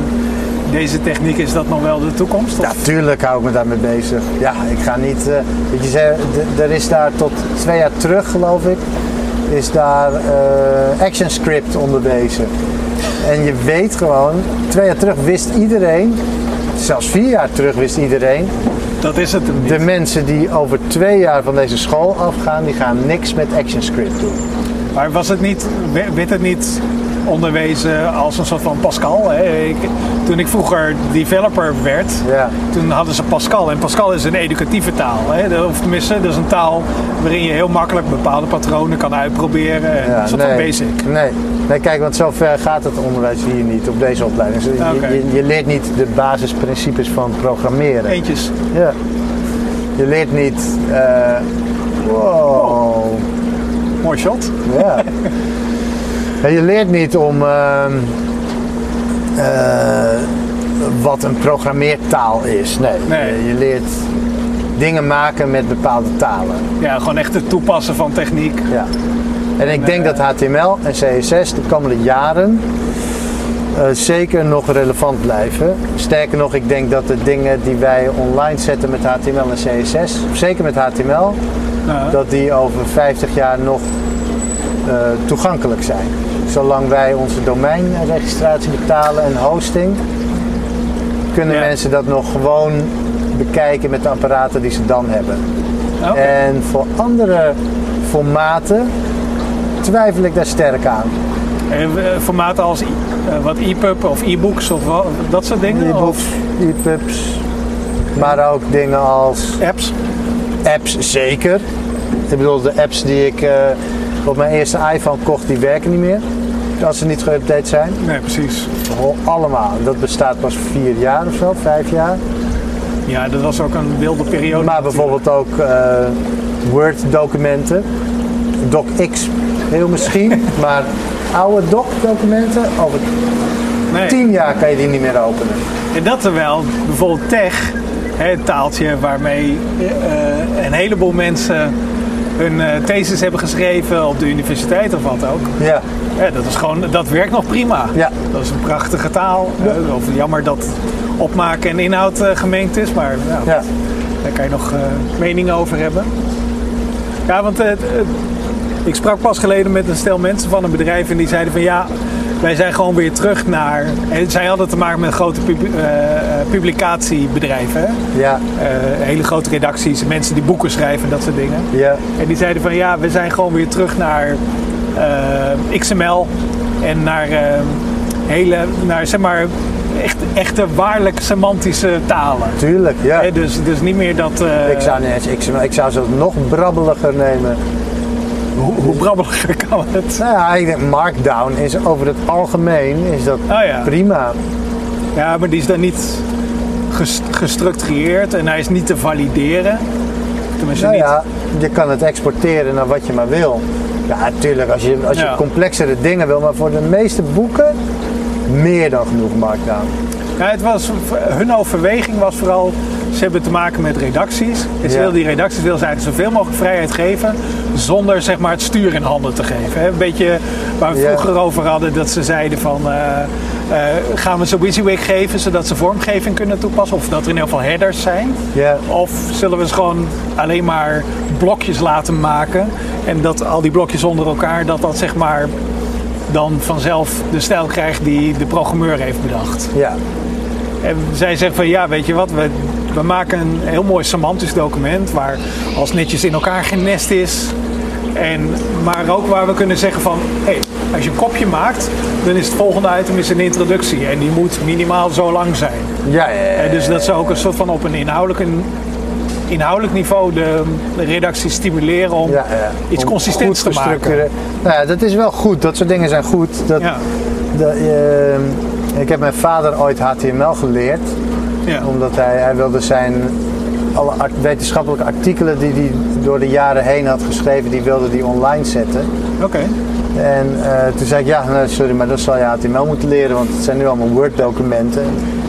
Speaker 1: deze techniek, is dat nog wel de toekomst? Of-
Speaker 2: Ja, tuurlijk hou ik me daarmee bezig. Ja, ik ga niet. eh, weet je, ze- d- er is daar tot twee jaar terug, geloof ik, is daar eh Action Script onderwezen. En je weet gewoon, twee jaar terug wist iedereen, zelfs vier jaar terug wist iedereen,
Speaker 1: Dat is het hem niet.
Speaker 2: de mensen die over twee jaar van deze school afgaan, die gaan niks met Action Script doen.
Speaker 1: Maar was het niet, we- werd het niet onderwezen als een soort van Pascal? Hè? Ik, toen ik vroeger developer werd,
Speaker 2: Ja.
Speaker 1: toen hadden ze Pascal. En Pascal is een educatieve taal. Hè? Dat- Of tenminste, dat is een taal waarin je heel makkelijk bepaalde patronen kan uitproberen. En een soort van basic.
Speaker 2: Nee. nee, kijk, want zo ver gaat het onderwijs hier niet op deze opleiding. Dus je-
Speaker 1: Ah, Oké.
Speaker 2: je, je leert niet de basisprincipes van programmeren.
Speaker 1: Eentjes.
Speaker 2: Ja. Je leert niet. eh, wow.
Speaker 1: Mooi shot.
Speaker 2: Ja. En je leert niet om ehm, eh, wat een programmeertaal is. Nee.
Speaker 1: Nee.
Speaker 2: Je, je leert dingen maken met bepaalde talen.
Speaker 1: Ja, gewoon echt het toepassen van techniek.
Speaker 2: Ja. En ik denk dat HTML en CSS de komende jaren eh, zeker nog relevant blijven. Sterker nog, ik denk dat de dingen die wij online zetten met HTML en CSS, zeker met HTML,
Speaker 1: Ja.
Speaker 2: dat die over 50 jaar nog eh, toegankelijk zijn. Zolang wij onze domeinregistratie betalen en hosting, kunnen
Speaker 1: Ja.
Speaker 2: mensen dat nog gewoon bekijken met de apparaten die ze dan hebben.
Speaker 1: Oké.
Speaker 2: En voor andere formaten twijfel ik daar sterk aan.
Speaker 1: En, eh, Formaten als i- eh, wat EPUB of e-books of wa- dat soort dingen?
Speaker 2: E-books, e-pubs, maar ook dingen als
Speaker 1: Of apps?
Speaker 2: apps zeker. Ik bedoel, de apps die ik eh, op mijn eerste iPhone kocht, die werken niet meer. Als ze niet geüpdate zijn.
Speaker 1: Nee, precies.
Speaker 2: Gewoon Allemaal. Dat bestaat pas vier jaar of zo, vijf jaar.
Speaker 1: Ja, dat was ook een wilde periode.
Speaker 2: Maar bijvoorbeeld ook eh, Word-documenten. DocX heel misschien. maar oude doc-documenten, over
Speaker 1: Nee.
Speaker 2: tien jaar kan je die niet meer openen.
Speaker 1: En dat terwijl bijvoorbeeld tech, hè, het taaltje waarmee eh, een heleboel mensen hun eh, thesis hebben geschreven op de universiteit of wat ook.
Speaker 2: Ja,
Speaker 1: Ja, dat, is gewoon, dat werkt nog prima.
Speaker 2: Ja.
Speaker 1: Dat is een prachtige taal. Eh, of jammer dat opmaken en inhoud eh, gemengd is, maar nou,
Speaker 2: ja.
Speaker 1: daar kan je nog eh, meningen over hebben. Ja, want eh, het- het- ik sprak pas geleden met een stel mensen van een bedrijf en die zeiden van ja, wij zijn gewoon weer terug naar. En zij hadden te maken met grote pub- eh, eh, publicatiebedrijven. Hè?
Speaker 2: ja,
Speaker 1: Eh, hele grote redacties, mensen die boeken schrijven en dat soort dingen.
Speaker 2: ja.
Speaker 1: En die zeiden van ja, we zijn gewoon weer terug naar eh, XML en naar eh, hele, naar zeg maar, echt, echte waarlijk semantische talen.
Speaker 2: Tuurlijk, ja.
Speaker 1: Hè, dus, dus niet meer dat. eh,
Speaker 2: Ik zou, niet eens- ik, zou- ik zou ze nog brabbeliger nemen.
Speaker 1: Hoe, hoe brabbeliger kan het?
Speaker 2: Nou ja, ik denk Markdown is over het algemeen is dat
Speaker 1: ja.
Speaker 2: prima.
Speaker 1: Ja, maar die is dan niet ges- gestructureerd en hij is niet te valideren. Tenminste,
Speaker 2: Nou
Speaker 1: niet.
Speaker 2: ja, je kan het exporteren naar wat je maar wil. Ja, tuurlijk, als je, als je
Speaker 1: Ja.
Speaker 2: complexere dingen wil, maar voor de meeste boeken meer dan genoeg Markdown.
Speaker 1: Ja, het was, hun overweging was vooral, ze hebben te maken met redacties. En ze
Speaker 2: Ja.
Speaker 1: wil die redacties wil ze eigenlijk zoveel mogelijk vrijheid geven, zonder zeg maar, het stuur in handen te geven. hè. Een beetje waar we
Speaker 2: Ja.
Speaker 1: vroeger over hadden, dat ze zeiden van, eh, eh, gaan we ze Wizzy Week geven, zodat ze vormgeving kunnen toepassen. Of dat er in ieder geval headers zijn.
Speaker 2: Ja.
Speaker 1: Of zullen we ze gewoon alleen maar blokjes laten maken. En dat al die blokjes onder elkaar, dat dat zeg maar dan vanzelf de stijl krijgt die de programmeur heeft bedacht.
Speaker 2: Ja,
Speaker 1: En zij zegt van ja, weet je wat, we, we maken een heel mooi semantisch document waar als netjes in elkaar genest is. En, maar ook waar we kunnen zeggen van, hé, als je een kopje maakt, dan is het volgende item is een introductie. En die moet minimaal zo lang zijn.
Speaker 2: Ja, ja, ja.
Speaker 1: Eh, dus dat zou ook een soort van op een inhoudelijk, een inhoudelijk niveau de redactie stimuleren om
Speaker 2: ja, ja.
Speaker 1: iets
Speaker 2: Om
Speaker 1: consistents te
Speaker 2: goed
Speaker 1: maken.
Speaker 2: gestructureerd- Nou, ja, dat is wel goed. Dat soort dingen zijn goed. Dat,
Speaker 1: Ja.
Speaker 2: dat, eh, ik heb mijn vader ooit HTML geleerd.
Speaker 1: Ja.
Speaker 2: Omdat hij, hij wilde zijn... Alle art- wetenschappelijke artikelen die hij door de jaren heen had geschreven... die wilde hij online zetten.
Speaker 1: Oké.
Speaker 2: En eh, toen zei ik, ja, nou, sorry, maar dat zal je HTML moeten leren, want het zijn nu allemaal Word-documenten.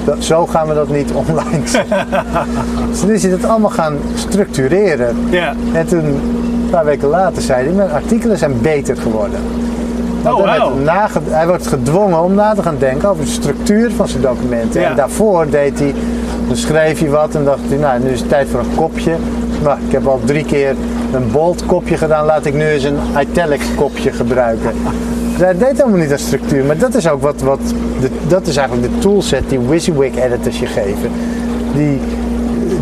Speaker 2: Dat- zo gaan we dat niet online zetten. dus toen is hij dat allemaal gaan structureren.
Speaker 1: Ja.
Speaker 2: En toen, een paar weken later, zei hij, mijn artikelen zijn beter geworden.
Speaker 1: Oh,
Speaker 2: Dan werd
Speaker 1: wauw.
Speaker 2: hem nage- hij wordt gedwongen om na te gaan denken over de structuur van zijn documenten.
Speaker 1: Ja.
Speaker 2: En daarvoor deed hij, dan schreef hij wat en dacht hij, nou nu is het tijd voor een kopje. Nou, ik heb al drie keer een bold kopje gedaan, laat ik nu eens een italic kopje gebruiken. Dus hij deed helemaal niet aan structuur, maar dat is ook wat, wat de, dat is eigenlijk de toolset die WYSIWYG editors je geven. Die,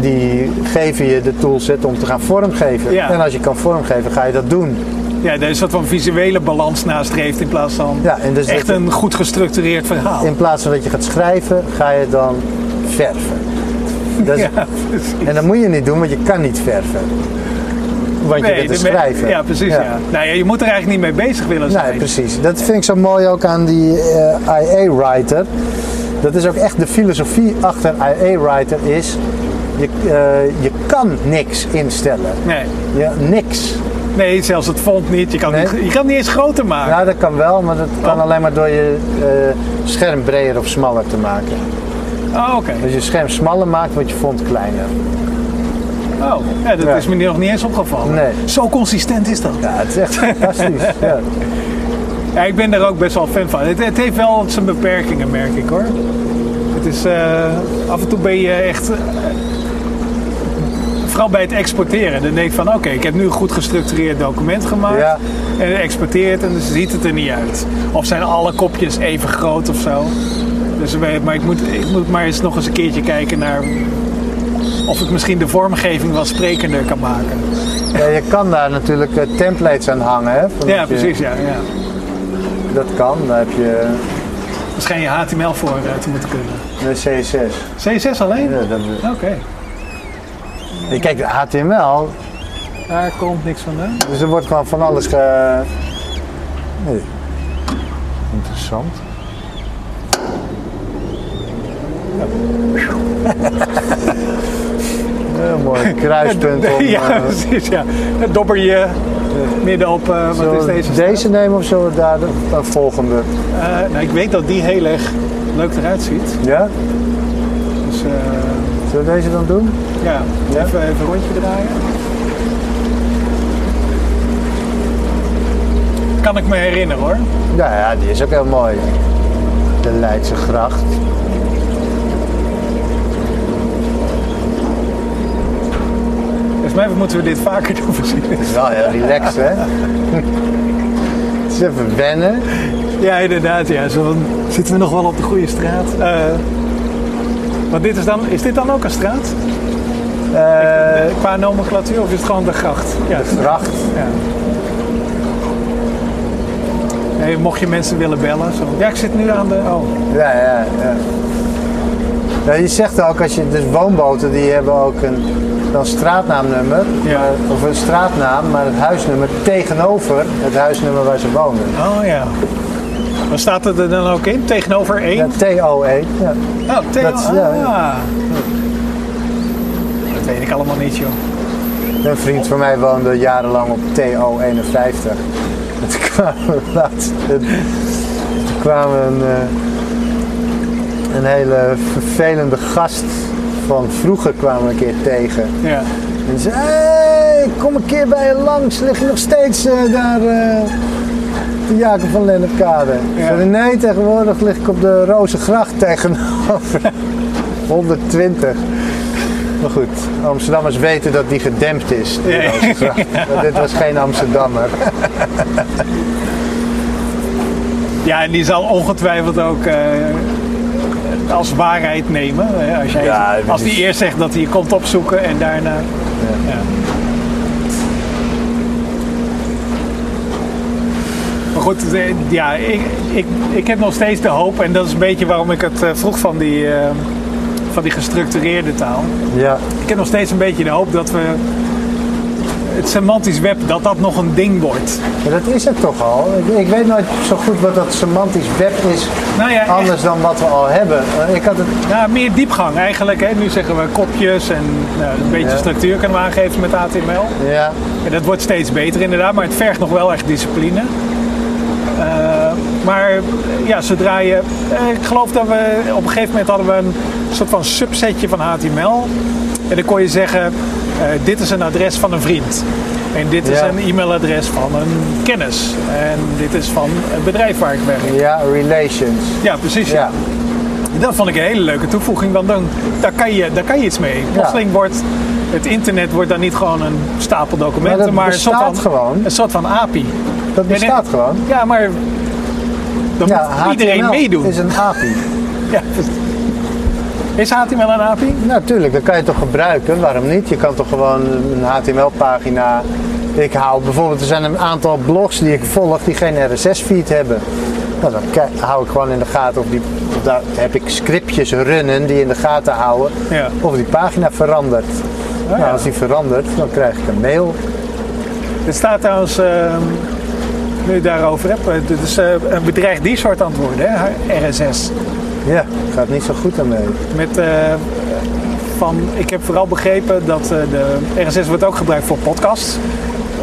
Speaker 2: die geven je de toolset om te gaan vormgeven.
Speaker 1: Ja.
Speaker 2: En als je kan vormgeven, ga je dat doen.
Speaker 1: Ja, daar is wat van visuele balans nastreeft in plaats van
Speaker 2: Ja, en dus
Speaker 1: echt
Speaker 2: dat-
Speaker 1: een goed gestructureerd verhaal.
Speaker 2: In plaats van dat je gaat schrijven, ga je dan verven. Dat is-
Speaker 1: Ja, precies.
Speaker 2: En dat moet je niet doen, want je kan niet verven. Want je bent
Speaker 1: de
Speaker 2: een
Speaker 1: me-
Speaker 2: schrijver.
Speaker 1: Ja, precies. Ja. Nou ja, je moet er eigenlijk niet mee bezig willen zijn.
Speaker 2: Nee, precies. Dat vind ik zo mooi ook aan die eh, IA-writer. Dat is ook echt de filosofie achter IA-writer is... Je, eh, je kan niks instellen.
Speaker 1: Nee.
Speaker 2: Je, niks.
Speaker 1: nee, zelfs het font niet. Je kan,
Speaker 2: Nee.
Speaker 1: niet, je kan het niet eens groter maken.
Speaker 2: Nou, dat kan wel, maar dat kan
Speaker 1: Oh.
Speaker 2: alleen maar door je eh, scherm breder of smaller te maken.
Speaker 1: Oh, oké.
Speaker 2: Als je scherm smaller maakt, wordt je font kleiner.
Speaker 1: Oh, ja, dat
Speaker 2: Ja.
Speaker 1: is me nog niet eens opgevallen.
Speaker 2: Nee.
Speaker 1: Zo consistent is dat.
Speaker 2: Ja, het is echt fantastisch. Ja.
Speaker 1: Ja, ik ben daar ook best wel fan van. Het, het heeft wel zijn beperkingen, merk ik hoor. Het is, eh, af en toe ben je echt... eh, Vooral bij het exporteren. Dan denk je van, oké, ik heb nu een goed gestructureerd document gemaakt.
Speaker 2: Ja.
Speaker 1: En je exporteert en dan ziet het er niet uit. Of zijn alle kopjes even groot of zo. Dus dan ben je- maar ik moet, ik moet maar eens nog eens een keertje kijken naar... Of ik misschien de vormgeving wat sprekender kan maken.
Speaker 2: Ja, je kan daar natuurlijk eh, templates aan hangen. Hè? Zodat
Speaker 1: Ja,
Speaker 2: je-
Speaker 1: precies. Ja, ja.
Speaker 2: Dat kan, daar heb je
Speaker 1: Misschien je HTML voor eh, te moeten kunnen.
Speaker 2: een CSS.
Speaker 1: CSS alleen?
Speaker 2: Ja, dat...
Speaker 1: Oké,
Speaker 2: Ja, Kijk, HTML,
Speaker 1: daar komt niks vandaan.
Speaker 2: dus er wordt gewoon van alles ge... Nee. Interessant. Heel mooi kruispunt om...
Speaker 1: ja,
Speaker 2: eh,
Speaker 1: precies. Ja. Dan dobber je midden op. eh, wat is
Speaker 2: zullen we
Speaker 1: deze?
Speaker 2: deze nemen of zullen we daar de, een volgende?
Speaker 1: Eh, nou, ik weet dat die heel erg leuk eruit ziet.
Speaker 2: Ja?
Speaker 1: Dus eh,
Speaker 2: Zullen we deze dan doen?
Speaker 1: ja,
Speaker 2: Ja?
Speaker 1: Even, even een rondje draaien. Kan ik me herinneren hoor.
Speaker 2: Nou ja, die is ook heel mooi. De Leidse gracht.
Speaker 1: Volgens mij moeten we dit vaker doen. voorzien.
Speaker 2: is wel heel relaxed, hè? Het is even wennen.
Speaker 1: Ja, inderdaad. Ja. Zo, van, zitten we nog wel op de goede straat? Eh want dit is, dan, is dit dan ook een straat?
Speaker 2: Eh,
Speaker 1: Qua nomenclatuur of is het gewoon de gracht? Ja,
Speaker 2: de gracht.
Speaker 1: Ja. Hey, mocht je mensen willen bellen. Zo. Ja, ik zit nu aan de. Oh,
Speaker 2: Ja, ja, ja. Ja, je zegt ook, als je, dus woonboten die hebben ook een dan straatnaamnummer.
Speaker 1: Ja.
Speaker 2: maar- of een straatnaam, maar het huisnummer tegenover het huisnummer waar ze wonen.
Speaker 1: oh ja. Wat staat het er dan ook in? Tegenover
Speaker 2: Ja,
Speaker 1: één?
Speaker 2: TOE. Ja.
Speaker 1: oh, tegen...
Speaker 2: dat is- ja,
Speaker 1: ah.
Speaker 2: ja.
Speaker 1: Dat weet ik allemaal niet, joh.
Speaker 2: Een vriend van mij woonde jarenlang op TO51. En Toen kwamen we laatst. en Toen kwamen we een, eh, een hele vervelende gast van vroeger kwamen we een keer tegen.
Speaker 1: Ja.
Speaker 2: En zei, hey, kom een keer bij je langs, lig je nog steeds eh, daar eh, op de Jacob van Lennepkade.
Speaker 1: Ja.
Speaker 2: Zei, nee, tegenwoordig lig ik op de Rozengracht tegenover. 120. Maar goed, Amsterdammers weten dat die gedempt is, die
Speaker 1: Ja, ja.
Speaker 2: Rozengracht. Maar Dit was geen Amsterdammer.
Speaker 1: ja, en die zal ongetwijfeld ook eh, als waarheid nemen. hè. Als, jij,
Speaker 2: Ja,
Speaker 1: als die
Speaker 2: dit is-
Speaker 1: eerst zegt dat hij je komt opzoeken en daarna. Ja. Maar goed, eh, ja, ik, ik, ik heb nog steeds de hoop, en dat is een beetje waarom ik het eh, vroeg van die, eh, van die gestructureerde taal.
Speaker 2: Ja,
Speaker 1: Ik heb nog steeds een beetje de hoop dat we het semantisch web, dat dat nog een ding wordt.
Speaker 2: maar dat is het toch al. Ik, ik weet nooit zo goed wat dat semantisch web is,
Speaker 1: Nou ja, echt-
Speaker 2: anders dan wat we al hebben. Eh, Ik had het
Speaker 1: Ja, meer diepgang eigenlijk. Hè. Nu zeggen we kopjes en nou, een beetje
Speaker 2: Ja.
Speaker 1: structuur kunnen we aangeven met HTML.
Speaker 2: Ja,
Speaker 1: En dat wordt steeds beter inderdaad, maar het vergt nog wel echt discipline. Eh, maar ja, zodra je... eh, ik geloof dat we op een gegeven moment hadden we een soort van subsetje van HTML. En dan kon je zeggen, eh, dit is een adres van een vriend. En dit is
Speaker 2: Ja.
Speaker 1: een e-mailadres van een kennis. En dit is van een bedrijf waar ik werk.
Speaker 2: ja relations.
Speaker 1: Ja, precies. ja.
Speaker 2: Ja,
Speaker 1: Dat vond ik een hele leuke toevoeging, want dan, daar, kan je, daar kan je iets mee. Plotseling wordt het internet wordt dan niet gewoon een stapel documenten,
Speaker 2: Maar dat
Speaker 1: een soort
Speaker 2: bestaat
Speaker 1: van,
Speaker 2: gewoon.
Speaker 1: een soort van API.
Speaker 2: dat bestaat
Speaker 1: En-
Speaker 2: gewoon.
Speaker 1: Ja, maar dan
Speaker 2: Ja,
Speaker 1: moet iedereen
Speaker 2: HTML
Speaker 1: meedoen.
Speaker 2: is een API.
Speaker 1: Ja. Is HTML een API?
Speaker 2: Natuurlijk, dat kan je toch gebruiken, waarom niet? Je kan toch gewoon een HTML-pagina. Ik hou bijvoorbeeld, er zijn een aantal blogs die ik volg die geen RSS-feed hebben. Nou, dan ki- hou ik gewoon in de gaten of die. of Daar heb ik scriptjes runnen die in de gaten houden
Speaker 1: Ja.
Speaker 2: of die pagina verandert. nou,
Speaker 1: ja.
Speaker 2: Als die verandert, dan krijg ik een mail.
Speaker 1: Het staat trouwens, ehm, nu je het daarover hebt, eh, dit is eh, een bedreigd die soort antwoord, hè? RSS.
Speaker 2: Ja, gaat niet zo goed daarmee.
Speaker 1: Met, eh, van, ik heb vooral begrepen dat eh, de RSS wordt ook gebruikt voor podcasts.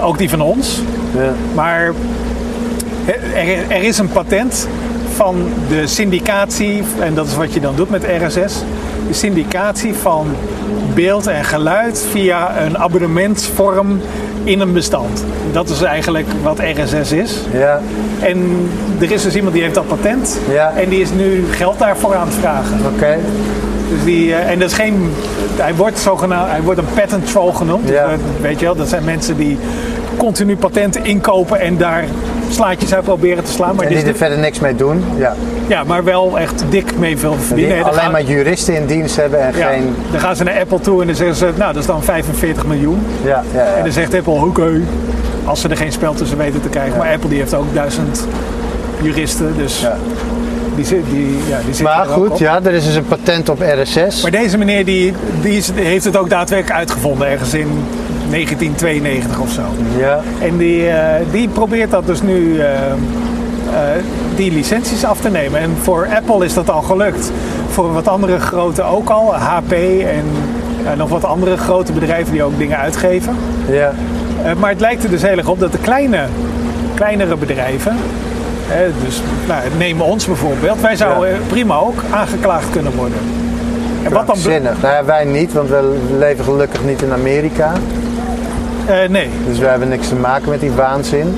Speaker 1: Ook die van ons.
Speaker 2: Ja.
Speaker 1: Maar er, er is een patent van de syndicatie, en dat is wat je dan doet met RSS. De syndicatie van beeld en geluid via een abonnementsvorm in een bestand. Dat is eigenlijk wat RSS is.
Speaker 2: Ja,
Speaker 1: En er is dus iemand die heeft dat patent.
Speaker 2: Ja.
Speaker 1: En die is nu geld daarvoor aan het vragen.
Speaker 2: oké.
Speaker 1: Dus die, eh, en dat is geen. Hij wordt, zogenaamd, hij wordt een patent troll genoemd.
Speaker 2: Ja.
Speaker 1: Dus, eh, weet je wel, dat zijn mensen die continu patenten inkopen en daar slaatjes uit proberen te slaan. Maar,
Speaker 2: En
Speaker 1: dit
Speaker 2: die
Speaker 1: is
Speaker 2: er verder niks mee doen. Ja.
Speaker 1: de- ja, maar wel echt dik mee veel
Speaker 2: Die
Speaker 1: verdienen. En dan
Speaker 2: alleen
Speaker 1: gaan-
Speaker 2: maar juristen in dienst hebben en
Speaker 1: ja,
Speaker 2: geen.
Speaker 1: Dan gaan ze naar Apple toe en dan zeggen ze, nou dat is dan 45 miljoen.
Speaker 2: Ja, ja, ja.
Speaker 1: En dan zegt Apple, oké, als ze er geen spel tussen weten te krijgen. Maar Apple die heeft ook duizend juristen, dus
Speaker 2: Ja.
Speaker 1: die, zit- die, ja, die zitten
Speaker 2: Maar
Speaker 1: er ook op.
Speaker 2: goed, ja, er is dus een patent op RSS.
Speaker 1: Maar deze meneer die, die is- die heeft het ook daadwerkelijk uitgevonden, ergens in 1992 of zo.
Speaker 2: Ja,
Speaker 1: En die, eh, die probeert dat dus nu, eh, eh, die licenties af te nemen. En voor Apple is dat al gelukt. Voor wat andere grote ook al, HP en eh, nog wat andere grote bedrijven die ook dingen uitgeven.
Speaker 2: ja,
Speaker 1: Eh, maar het lijkt er dus heel erg op dat de kleine, kleinere bedrijven, eh, dus nou, neem ons bijvoorbeeld, wij zouden
Speaker 2: Ja.
Speaker 1: eh, prima ook aangeklaagd kunnen worden. En wat dan bl-
Speaker 2: zinnig. Nou ja, wij niet, want we leven gelukkig niet in Amerika.
Speaker 1: Eh, nee,
Speaker 2: Dus wij hebben niks te maken met die waanzin.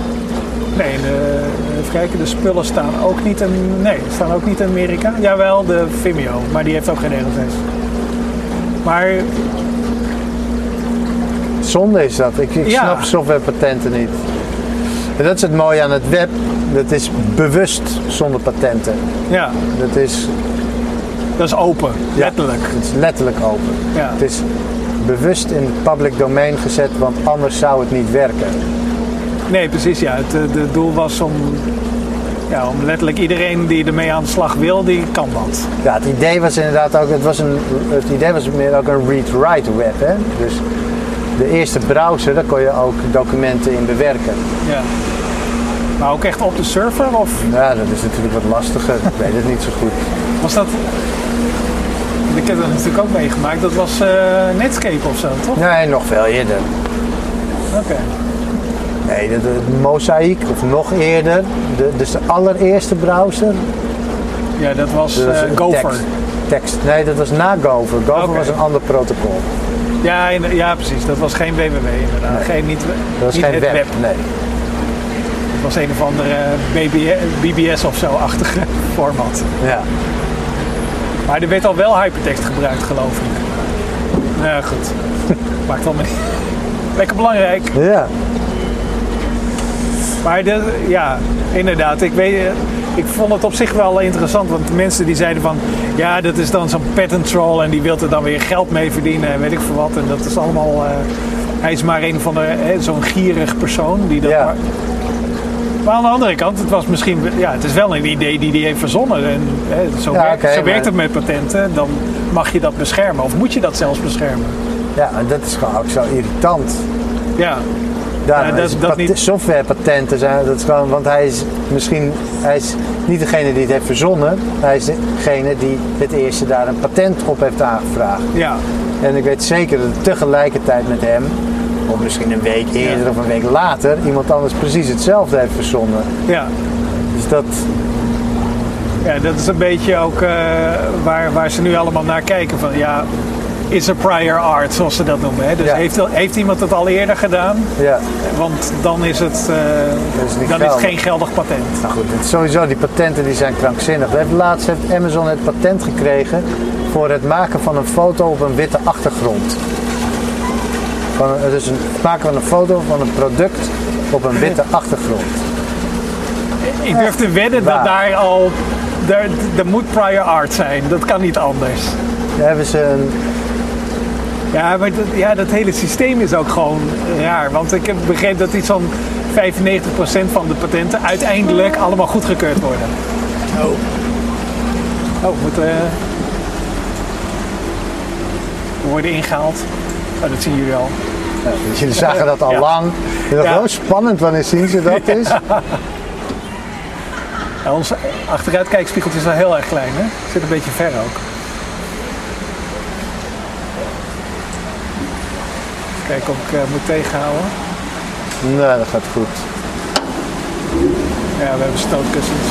Speaker 1: nee de, even kijken, de spullen staan ook niet in, nee, staan ook niet in Amerika. Jawel, de Vimeo, maar die heeft ook geen RSS. Maar
Speaker 2: Zonde is dat. Ik, ik
Speaker 1: Ja.
Speaker 2: snap softwarepatenten niet. En dat is het mooie aan het web. Dat is bewust zonder patenten.
Speaker 1: ja,
Speaker 2: Dat is,
Speaker 1: dat is open, letterlijk.
Speaker 2: het is letterlijk open.
Speaker 1: Ja.
Speaker 2: Het is bewust in het public domein gezet, want anders zou het niet werken.
Speaker 1: Nee, precies, ja. Het eh, de doel was om, ja, om letterlijk iedereen die ermee aan de slag wil, die kan dat.
Speaker 2: Ja, het idee was inderdaad ook, het, was een, het idee was meer ook een read-write web. Hè? Dus de eerste browser, daar kon je ook documenten in bewerken.
Speaker 1: Ja. Maar ook echt op de server? Of
Speaker 2: Ja, dat is natuurlijk wat lastiger. Ik weet het niet zo goed.
Speaker 1: was dat... Ik heb dat natuurlijk ook meegemaakt. Dat was eh, Netscape of zo, toch?
Speaker 2: Nee, nog veel eerder.
Speaker 1: Oké.
Speaker 2: Nee, de, de Mosaic of nog eerder. De, dus de allereerste browser.
Speaker 1: Ja, dat was
Speaker 2: Dat was
Speaker 1: eh,
Speaker 2: een
Speaker 1: Gopher.
Speaker 2: Tekst, tekst. Nee, dat was na Gopher. Gopher
Speaker 1: Oké.
Speaker 2: was een ander protocol.
Speaker 1: Ja, in- ja, precies. Dat was geen WWW inderdaad. Geen, niet,
Speaker 2: Dat was
Speaker 1: niet
Speaker 2: geen
Speaker 1: het
Speaker 2: web.
Speaker 1: web.
Speaker 2: Nee.
Speaker 1: Het was een of andere BB- BBS of zo-achtige format.
Speaker 2: Ja.
Speaker 1: Maar er werd al wel hypertext gebruikt, geloof ik. Nou ja, goed. Maakt allemaal niet. Lekker belangrijk.
Speaker 2: Ja.
Speaker 1: Maar de, ja, inderdaad. Ik weet, eh, ik vond het op zich wel interessant, want de mensen die zeiden van... Ja, dat is dan zo'n patent troll en die wil er dan weer geld mee verdienen en weet ik veel wat. En dat is allemaal... eh, hij is maar een van de... hè, Zo'n gierig persoon die dat
Speaker 2: Ja.
Speaker 1: maar... Maar aan de andere kant, het was misschien... Ja, het is wel een idee die hij heeft verzonnen. En, hè, zo
Speaker 2: Ja,
Speaker 1: werkt,
Speaker 2: oké,
Speaker 1: zo
Speaker 2: maar-
Speaker 1: werkt het met patenten. Dan mag je dat beschermen. Of moet je dat zelfs beschermen?
Speaker 2: Ja, en dat is gewoon ook zo irritant.
Speaker 1: Ja,
Speaker 2: Daar,
Speaker 1: Ja, dat- dat niet-
Speaker 2: Softwarepatenten zijn, dat is gewoon, want hij is misschien hij is niet degene die het heeft verzonnen, hij is degene die het eerste daar een patent op heeft aangevraagd.
Speaker 1: ja.
Speaker 2: En ik weet zeker dat tegelijkertijd met hem, of misschien een week eerder
Speaker 1: Ja.
Speaker 2: of een week later, iemand anders precies hetzelfde heeft verzonnen.
Speaker 1: Ja,
Speaker 2: Dus dat,
Speaker 1: ja dat is een beetje ook eh, waar, waar ze nu allemaal naar kijken. Van, ja, is er prior art, zoals ze dat noemen. Hè? Dus
Speaker 2: Ja.
Speaker 1: heeft, heeft iemand het al eerder gedaan?
Speaker 2: ja.
Speaker 1: Want dan is het, eh,
Speaker 2: Dat is niet
Speaker 1: dan is
Speaker 2: geldig.
Speaker 1: het geen geldig patent.
Speaker 2: Nou goed, het- sowieso die patenten die zijn krankzinnig. We hebben Laatst heeft Amazon het patent gekregen voor het maken van een foto op een witte achtergrond. Van, een- het is een, het maken van een foto van een product op een witte achtergrond.
Speaker 1: Ik durf te wedden
Speaker 2: waar.
Speaker 1: dat daar al... Er, er moet prior art zijn. Dat kan niet anders.
Speaker 2: Daar hebben ze een,
Speaker 1: Ja, maar dat, ja, dat hele systeem is ook gewoon raar. Want ik heb begrepen dat iets van 95% van de patenten uiteindelijk allemaal goedgekeurd worden. Oh. Oh, moet... eh worden ingehaald. Oh, dat zien jullie al.
Speaker 2: dus jullie zagen dat al
Speaker 1: Ja.
Speaker 2: lang. Je dacht,
Speaker 1: Ja.
Speaker 2: oh, spannend, wanneer zien ze dat is?
Speaker 1: Ja, ons achteruitkijkspiegeltje is wel heel erg klein, hè? Zit een beetje ver ook. Even kijken of ik eh, moet tegenhouden.
Speaker 2: Nee, dat gaat goed.
Speaker 1: Ja, we hebben stootkussens.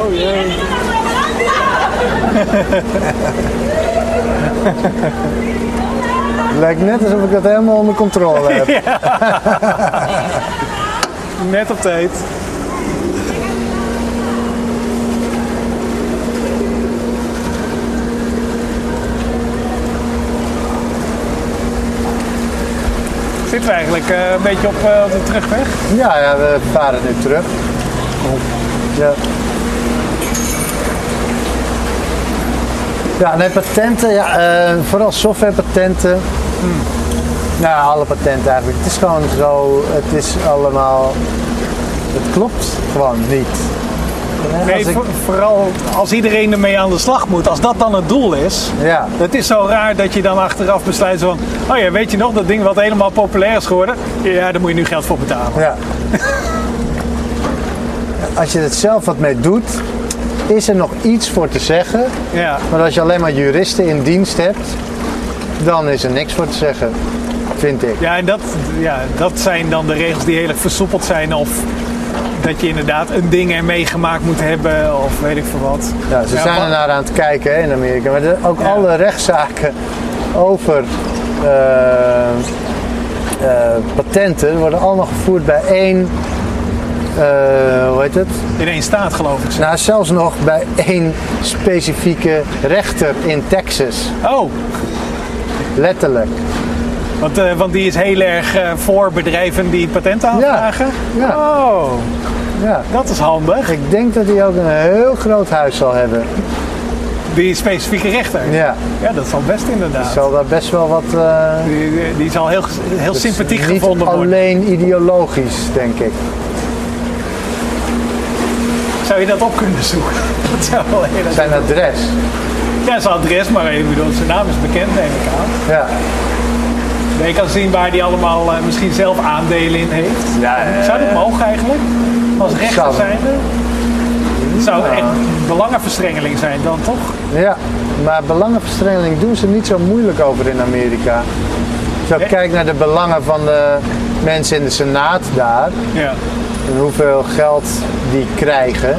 Speaker 1: Oh jee.
Speaker 2: Het lijkt net alsof ik dat helemaal onder controle heb.
Speaker 1: Net op tijd. Zitten we eigenlijk eh, een beetje op, eh, op de terugweg?
Speaker 2: Ja, ja, we varen nu terug. Ja. Ja, nee, patenten, ja, eh, vooral softwarepatenten. Nou, ja, alle patenten eigenlijk. Het is gewoon zo, het is allemaal, het klopt gewoon niet.
Speaker 1: Nee,
Speaker 2: Als ik-
Speaker 1: voor- vooral als iedereen ermee aan de slag moet. Als dat dan het doel is.
Speaker 2: ja,
Speaker 1: Het is zo raar dat je dan achteraf besluit van... Oh ja, weet je nog dat ding wat helemaal populair is geworden? Ja, daar moet je nu geld voor betalen.
Speaker 2: ja. Als je het zelf wat mee doet, is er nog iets voor te zeggen.
Speaker 1: Ja,
Speaker 2: Maar als je alleen maar juristen in dienst hebt, dan is er niks voor te zeggen, vind ik.
Speaker 1: ja en dat, ja, dat zijn dan de regels die heel erg versoepeld zijn. Of dat je inderdaad een ding ermee gemaakt moet hebben. Of weet ik veel wat.
Speaker 2: Ja, ze zijn
Speaker 1: maar-
Speaker 2: er naar aan het kijken hè, in Amerika. Maar de- ook
Speaker 1: Ja.
Speaker 2: alle rechtszaken over eh, eh, patenten worden allemaal gevoerd bij één, eh, hoe heet het?
Speaker 1: In één staat geloof ik.
Speaker 2: Nou, zelfs nog bij één specifieke rechter in Texas.
Speaker 1: Oh,
Speaker 2: Letterlijk.
Speaker 1: want, eh, want die is heel erg eh, voor bedrijven die patenten aanvragen.
Speaker 2: ja.
Speaker 1: Oh,
Speaker 2: Ja.
Speaker 1: dat is handig.
Speaker 2: Ik denk dat hij ook een heel groot huis zal hebben.
Speaker 1: Die specifieke rechter.
Speaker 2: Ja,
Speaker 1: Ja, dat zal best inderdaad.
Speaker 2: zal daar best wel wat... eh,
Speaker 1: Die, die zal heel, heel
Speaker 2: Dus
Speaker 1: sympathiek
Speaker 2: niet
Speaker 1: gevonden worden.
Speaker 2: alleen ideologisch, denk ik.
Speaker 1: Zou je dat op kunnen zoeken? Dat zou wel heel erg-
Speaker 2: Zijn adres.
Speaker 1: Ja, zijn adres, maar ik bedoel, zijn naam is bekend, neem ik aan.
Speaker 2: Ja.
Speaker 1: Maar Je kan zien waar hij allemaal eh, misschien zelf aandelen in heeft.
Speaker 2: Ja, ja, ja.
Speaker 1: Zou dat mogen eigenlijk? Als rechter
Speaker 2: Zou-
Speaker 1: zijnde? Het zou echt belangenverstrengeling zijn dan, toch?
Speaker 2: ja. Maar belangenverstrengeling doen ze niet zo moeilijk over in Amerika. Als je ook
Speaker 1: Nee.
Speaker 2: kijkt naar de belangen van de mensen in de Senaat daar.
Speaker 1: Ja.
Speaker 2: En hoeveel geld die krijgen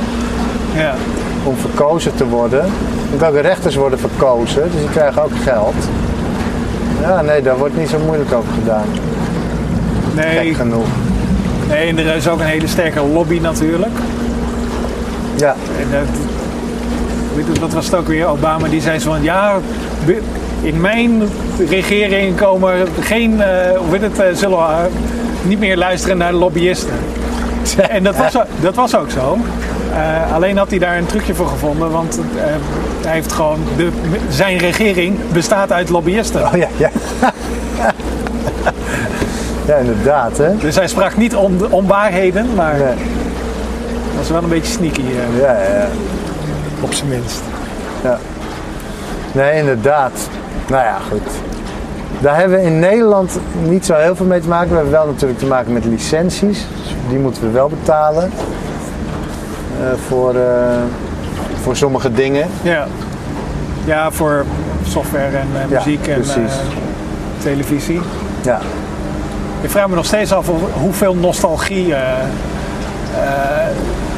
Speaker 1: ja.
Speaker 2: om verkozen te worden. Want ook rechters worden verkozen, dus die krijgen ook geld. Ja, nee, daar wordt niet zo moeilijk over gedaan.
Speaker 1: Nee,
Speaker 2: Gek genoeg.
Speaker 1: nee, en er is ook een hele sterke lobby natuurlijk.
Speaker 2: Ja,
Speaker 1: En dat, weet je, wat was eh, het ook weer, Obama, die zei zo van ja, we- in mijn regering komen geen, eh, hoe weet het, eh, zullen we eh, niet meer luisteren naar de lobbyisten. En dat was, o- dat was ook zo. Eh, alleen had hij daar een trucje voor gevonden, want eh, hij heeft gewoon, de, zijn regering bestaat uit lobbyisten.
Speaker 2: Oh ja, ja. ja, inderdaad, hè?
Speaker 1: Dus hij sprak niet on, onwaarheden, maar
Speaker 2: Nee,
Speaker 1: was wel een beetje sneaky, eh,
Speaker 2: ja, ja.
Speaker 1: op zijn minst.
Speaker 2: nee, inderdaad. Nou ja, goed. Daar hebben we in Nederland niet zo heel veel mee te maken. We hebben wel natuurlijk te maken met licenties. Dus die moeten we wel betalen. eh, voor, eh, voor sommige dingen.
Speaker 1: Ja. ja, voor software en eh,
Speaker 2: Ja,
Speaker 1: muziek en
Speaker 2: precies.
Speaker 1: eh, televisie.
Speaker 2: Ja,
Speaker 1: Ik vraag me nog steeds af of- hoeveel nostalgie, eh, eh,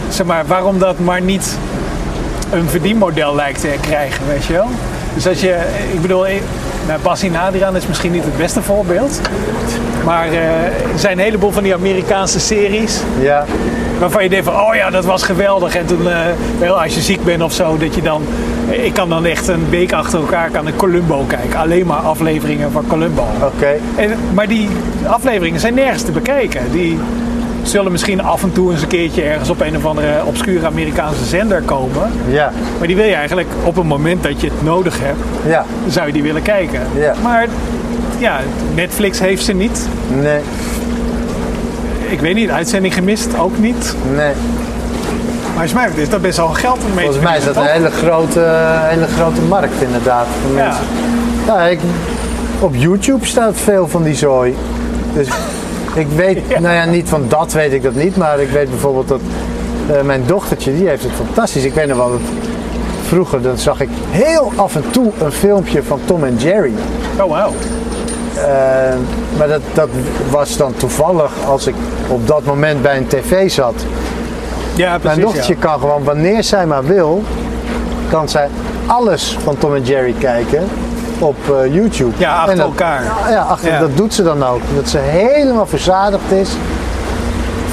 Speaker 1: zeg maar, waarom dat maar niet een verdienmodel lijkt te krijgen, weet je wel. Dus als je, ik bedoel, eh, nou, Bassi Nadiran is misschien niet het beste voorbeeld. Maar eh, er zijn een heleboel van die Amerikaanse series
Speaker 2: ja,
Speaker 1: waarvan je denkt van, oh ja, dat was geweldig. En toen, eh, wel, als je ziek bent of zo, dat je dan... Ik kan dan echt een week achter elkaar kan een Columbo kijken. Alleen maar afleveringen van Columbo.
Speaker 2: oké.
Speaker 1: En, maar die afleveringen zijn nergens te bekijken. Die zullen misschien af en toe eens een keertje ergens op een of andere obscure Amerikaanse zender komen.
Speaker 2: Ja,
Speaker 1: Maar die wil je eigenlijk op het moment dat je het nodig hebt,
Speaker 2: ja,
Speaker 1: zou je die willen kijken.
Speaker 2: Ja.
Speaker 1: Maar ja, Netflix heeft ze niet.
Speaker 2: nee,
Speaker 1: Ik weet niet, uitzending gemist ook niet.
Speaker 2: nee.
Speaker 1: Maar volgens mij is dat best wel geld om mee te
Speaker 2: Volgens mij is dat
Speaker 1: verdienen,
Speaker 2: een
Speaker 1: toch?
Speaker 2: hele grote, eh, hele grote markt inderdaad voor
Speaker 1: Ja.
Speaker 2: mensen. Ja, ik, op YouTube staat veel van die zooi. Dus ik weet, nou ja, niet van dat weet ik dat niet, maar ik weet bijvoorbeeld dat eh, mijn dochtertje, die heeft het fantastisch. Ik weet nog wel dat vroeger, dan zag ik heel af en toe een filmpje van Tom en Jerry.
Speaker 1: Oh, wauw.
Speaker 2: Eh, maar dat, dat was dan toevallig als ik op dat moment bij een tv zat.
Speaker 1: Ja, precies.
Speaker 2: Mijn dochtertje
Speaker 1: ja.
Speaker 2: kan gewoon, wanneer zij maar wil, kan zij alles van Tom en Jerry kijken op eh, YouTube.
Speaker 1: Ja, achter
Speaker 2: En dat-
Speaker 1: elkaar.
Speaker 2: Ja, achter,
Speaker 1: Ja.
Speaker 2: dat doet ze dan ook. Dat ze helemaal verzadigd is.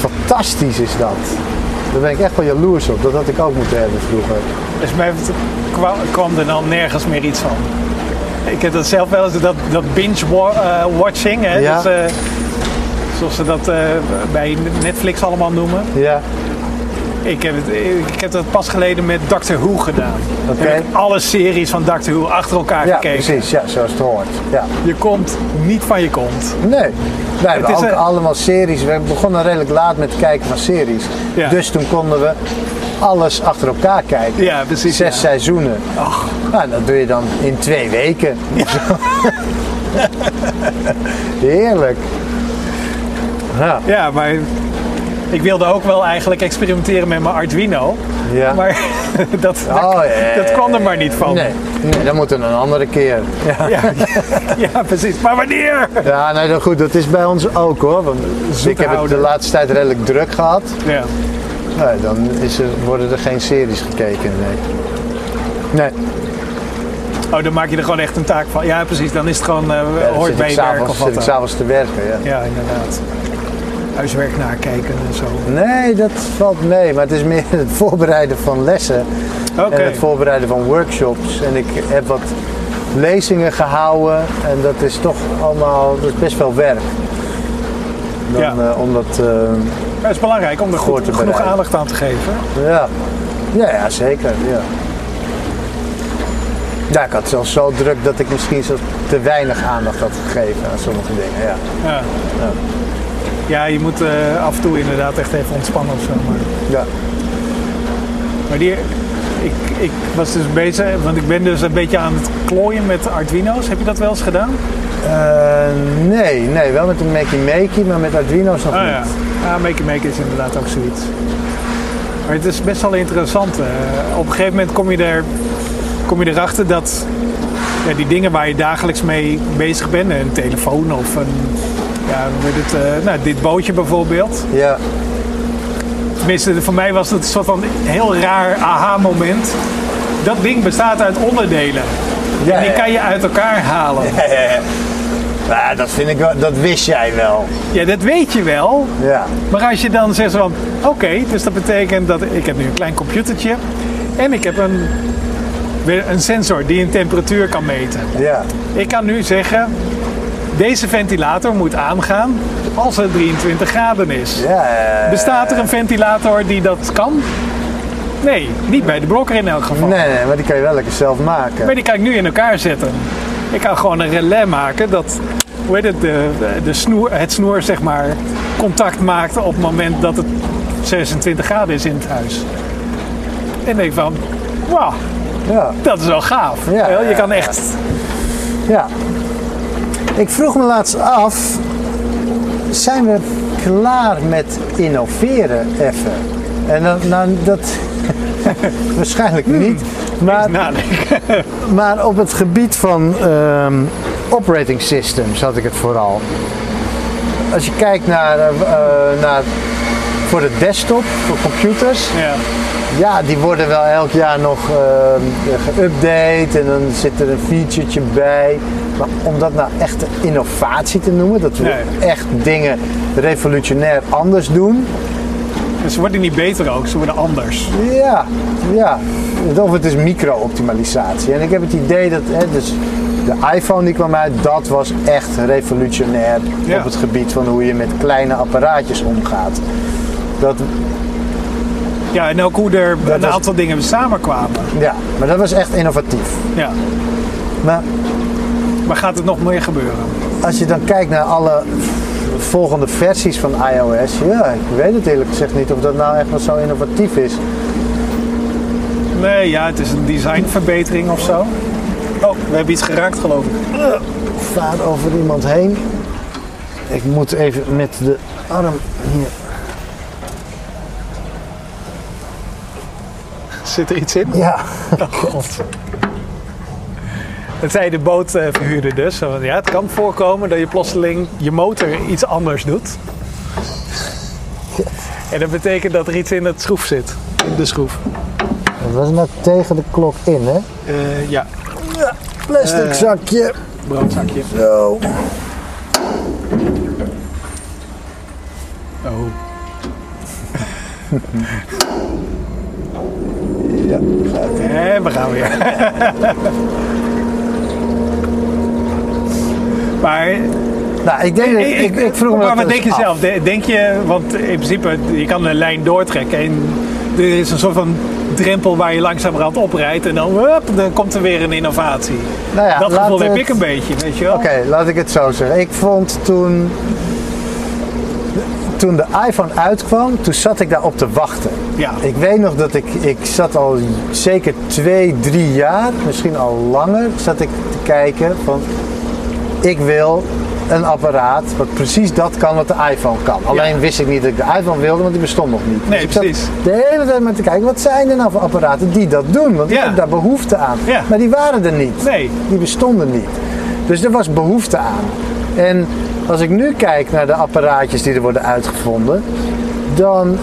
Speaker 2: Fantastisch is dat. Daar ben ik echt wel jaloers op. Dat had ik ook moeten hebben vroeger.
Speaker 1: Dus mij kwam, kwam er dan nergens meer iets van. Ik heb dat zelf wel eens, dat, dat binge-watching, hè,
Speaker 2: Ja.
Speaker 1: dus, eh, zoals ze dat eh, bij Netflix allemaal noemen.
Speaker 2: Ja,
Speaker 1: Ik heb, het, ik heb dat pas geleden met Doctor Who gedaan.
Speaker 2: Oké.
Speaker 1: Heb ik alle series van Doctor Who achter elkaar
Speaker 2: ja
Speaker 1: gekeken.
Speaker 2: precies. Ja, zoals het hoort. Ja.
Speaker 1: Je komt niet van je komt.
Speaker 2: Nee. Wij hebben
Speaker 1: is eh,
Speaker 2: ook
Speaker 1: een-
Speaker 2: allemaal series. We begonnen redelijk laat met kijken van series.
Speaker 1: Ja.
Speaker 2: Dus toen konden we alles achter elkaar kijken.
Speaker 1: Ja, precies,
Speaker 2: Zes
Speaker 1: ja.
Speaker 2: seizoenen.
Speaker 1: Ach.
Speaker 2: Nou, dat doe je dan in twee weken. Heerlijk. Ja.
Speaker 1: Ja, maar ik wilde ook wel eigenlijk experimenteren met mijn Arduino.
Speaker 2: Ja.
Speaker 1: Maar dat,
Speaker 2: Oh, ja.
Speaker 1: dat kwam er maar niet van.
Speaker 2: Nee, nee, dat moet een andere keer. Ja,
Speaker 1: Ja, ja, precies. Maar wanneer?
Speaker 2: ja nee, dan goed, dat is bij ons ook hoor. Want ik heb het de
Speaker 1: houden.
Speaker 2: laatste tijd redelijk druk gehad.
Speaker 1: Ja.
Speaker 2: Nee, dan is er, worden er geen series gekeken. Nee. Nee,
Speaker 1: Oh, dan maak je er gewoon echt een taak van. Ja, precies. Dan is het gewoon, eh,
Speaker 2: ja, dan
Speaker 1: hoort
Speaker 2: zit
Speaker 1: bij
Speaker 2: ik
Speaker 1: je werk
Speaker 2: s'avonds-
Speaker 1: of
Speaker 2: zit
Speaker 1: wat
Speaker 2: ik
Speaker 1: dan.
Speaker 2: s'avonds te werken. Ja.
Speaker 1: Ja, inderdaad. Huiswerk nakijken en zo.
Speaker 2: Nee, dat valt mee. Maar het is meer het voorbereiden van lessen.
Speaker 1: Oké.
Speaker 2: En het voorbereiden van workshops. En ik heb wat lezingen gehouden. En dat is toch allemaal dat is best wel werk. Dan,
Speaker 1: Ja.
Speaker 2: eh, om dat, eh,
Speaker 1: Maar het is belangrijk om er
Speaker 2: Voor
Speaker 1: goed,
Speaker 2: te
Speaker 1: genoeg
Speaker 2: bereiden.
Speaker 1: aandacht aan te geven.
Speaker 2: ja. Ja, ja, zeker. Ja. ja, ik had zelfs zo druk dat ik misschien zo te weinig aandacht had gegeven aan sommige dingen. Ja.
Speaker 1: Ja,
Speaker 2: Ja.
Speaker 1: ja je moet eh, af en toe inderdaad echt even ontspannen of zo. Maar,
Speaker 2: Ja.
Speaker 1: maar die, ik, ik was dus bezig, want ik ben dus een beetje aan het klooien met Arduino's. Heb je dat wel eens gedaan?
Speaker 2: Eh, nee, nee, wel met een Makey Makey, maar met Arduino's nog
Speaker 1: Ah
Speaker 2: niet.
Speaker 1: ja, ja Make Make is inderdaad ook zoiets. Maar het is best wel interessant. eh. op een gegeven moment kom je, er, kom je erachter dat ja, die dingen waar je dagelijks mee bezig bent, een telefoon of een, ja, hoe heet het, eh, nou, dit bootje bijvoorbeeld.
Speaker 2: Ja,
Speaker 1: Tenminste, voor mij was het een soort van heel raar aha-moment. Dat ding bestaat uit onderdelen.
Speaker 2: ja,
Speaker 1: En die
Speaker 2: ja.
Speaker 1: kan je uit elkaar halen.
Speaker 2: Nou, dat vind ik wel, dat wist jij wel.
Speaker 1: Ja, dat weet je wel.
Speaker 2: Ja,
Speaker 1: Maar als je dan zegt van, oké, dus dat betekent dat ik heb nu een klein computertje en ik heb een weer een sensor die een temperatuur kan meten.
Speaker 2: Ja,
Speaker 1: Ik kan nu zeggen, deze ventilator moet aangaan als het 23 graden is.
Speaker 2: ja. eh,
Speaker 1: Bestaat er een ventilator die dat kan? Nee, niet bij de blokker in elk geval.
Speaker 2: Nee, nee, maar die kan je wel lekker zelf maken.
Speaker 1: Maar die kan ik nu in elkaar zetten. Ik kan gewoon een relais maken dat hoe heet het, de, de snoer, het snoer zeg maar, contact maakt op het moment dat het 26 graden is in het huis. En denk van, wauw,
Speaker 2: Ja,
Speaker 1: dat is wel gaaf.
Speaker 2: Ja,
Speaker 1: Wel, je
Speaker 2: ja,
Speaker 1: kan
Speaker 2: ja.
Speaker 1: echt,
Speaker 2: ja. Ik vroeg me laatst af, zijn we klaar met innoveren even? En dan, nou, dat waarschijnlijk niet. Maar
Speaker 1: nou, nee,
Speaker 2: Maar op het gebied van ehm, operating systems had ik het vooral. Als je kijkt naar, eh, eh, naar voor de desktop, voor computers,
Speaker 1: ja.
Speaker 2: ja, die worden wel elk jaar nog ehm geüpdate en dan zit er een featuretje bij. Maar om dat nou echt innovatie te noemen, dat we
Speaker 1: Nee.
Speaker 2: echt dingen revolutionair anders doen,
Speaker 1: En Dus ze worden niet beter ook, ze worden anders.
Speaker 2: Ja, ja. Of het is micro-optimalisatie. En ik heb het idee dat hè, dus de iPhone die kwam uit, dat was echt revolutionair
Speaker 1: Ja.
Speaker 2: op het gebied van hoe je met kleine apparaatjes omgaat. Dat,
Speaker 1: Ja, en ook hoe er een
Speaker 2: was-
Speaker 1: aantal dingen samenkwamen.
Speaker 2: ja, maar dat was echt innovatief.
Speaker 1: Ja.
Speaker 2: Maar
Speaker 1: Maar gaat het nog meer gebeuren?
Speaker 2: als je dan kijkt naar alle volgende versies van iOS, ja, ik weet het eerlijk gezegd niet of dat nou echt wel zo innovatief is.
Speaker 1: Nee, ja, het is een designverbetering of zo. Oh, we hebben iets geraakt geloof ik.
Speaker 2: Vaar over iemand heen. Ik moet even met de arm hier
Speaker 1: Zit er iets in?
Speaker 2: Ja,
Speaker 1: Oh, Dat zei de bootverhuurder dus. Want Ja, het kan voorkomen dat je plotseling je motor iets anders doet. En dat betekent dat er iets in het schroef zit. In de schroef.
Speaker 2: dat was nou tegen de klok in, hè?
Speaker 1: Eh, ja, Nou.
Speaker 2: Plastic
Speaker 1: Eh.
Speaker 2: zakje.
Speaker 1: broodzakje.
Speaker 2: Zo.
Speaker 1: Oh.
Speaker 2: Ja.
Speaker 1: En we gaan weer. maar
Speaker 2: Nou, ik denk dat... Ik, ik, vroeg me
Speaker 1: maar
Speaker 2: dat dus
Speaker 1: wat
Speaker 2: eens
Speaker 1: denk je
Speaker 2: af.
Speaker 1: zelf? De- Denk je, want in principe, je kan een lijn doortrekken en er is een soort van drempel waar je langzamerhand oprijdt en dan, hup, dan komt er weer een innovatie.
Speaker 2: Nou ja,
Speaker 1: dat
Speaker 2: laat
Speaker 1: gevoel heb
Speaker 2: het-
Speaker 1: ik een beetje, weet je wel?
Speaker 2: Oké, laat ik het zo zeggen. Ik vond toen... Toen de iPhone uitkwam, toen zat ik daarop te wachten.
Speaker 1: Ja.
Speaker 2: Ik weet nog dat ik, ik zat al zeker twee, drie jaar, misschien al langer, zat ik te kijken van ik wil een apparaat wat precies dat kan wat de iPhone kan. Alleen wist ik niet dat ik de iPhone wilde, want die bestond nog niet. Dus
Speaker 1: Nee,
Speaker 2: ik zat
Speaker 1: precies.
Speaker 2: de hele tijd maar te kijken, wat zijn er nou voor apparaten die dat doen? Want ik
Speaker 1: Ja.
Speaker 2: heb daar behoefte aan.
Speaker 1: Ja.
Speaker 2: Maar die waren er niet.
Speaker 1: Nee.
Speaker 2: Die bestonden niet. Dus er was behoefte aan. En als ik nu kijk naar de apparaatjes die er worden uitgevonden, dan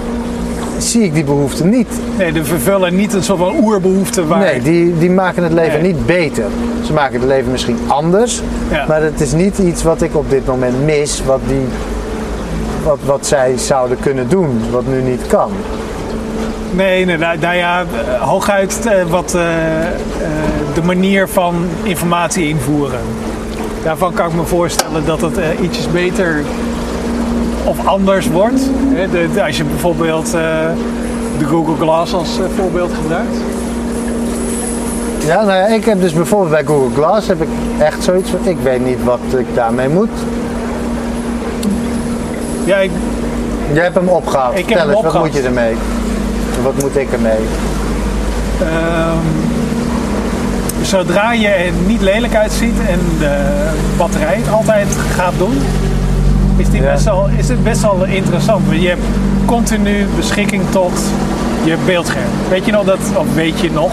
Speaker 2: zie ik die behoefte niet.
Speaker 1: Nee, de vervullen niet een soort van oerbehoefte waar...
Speaker 2: Nee, die, die maken het leven
Speaker 1: Nee.
Speaker 2: niet beter. Ze maken het leven misschien anders,
Speaker 1: Ja.
Speaker 2: maar het is niet iets wat ik op dit moment mis, wat, die, wat, wat zij zouden kunnen doen, wat nu niet kan.
Speaker 1: Nee, nee, nou, nou ja, eh, hooguit eh, wat eh, eh, de manier van informatie invoeren. Daarvan kan ik me voorstellen dat het eh, ietsjes beter of anders wordt. Hè, de- de- als je bijvoorbeeld eh, de Google Glass als eh, voorbeeld gebruikt.
Speaker 2: Ja, nou ja, ik heb dus bijvoorbeeld bij Google Glass heb ik echt zoiets van, ik weet niet wat ik daarmee moet.
Speaker 1: Ja, ik,
Speaker 2: Jij hebt hem opgehaald.
Speaker 1: Ik heb
Speaker 2: Vertel
Speaker 1: hem
Speaker 2: eens, wat
Speaker 1: opgehaald.
Speaker 2: moet je ermee? Wat moet ik ermee?
Speaker 1: ehm, zodra je er niet lelijk uitziet en de batterij het altijd gaat doen, is, die
Speaker 2: Ja.
Speaker 1: best wel, is het best wel interessant. Want je hebt continu beschikking tot je beeldscherm. Weet je nog dat, of weet je nog?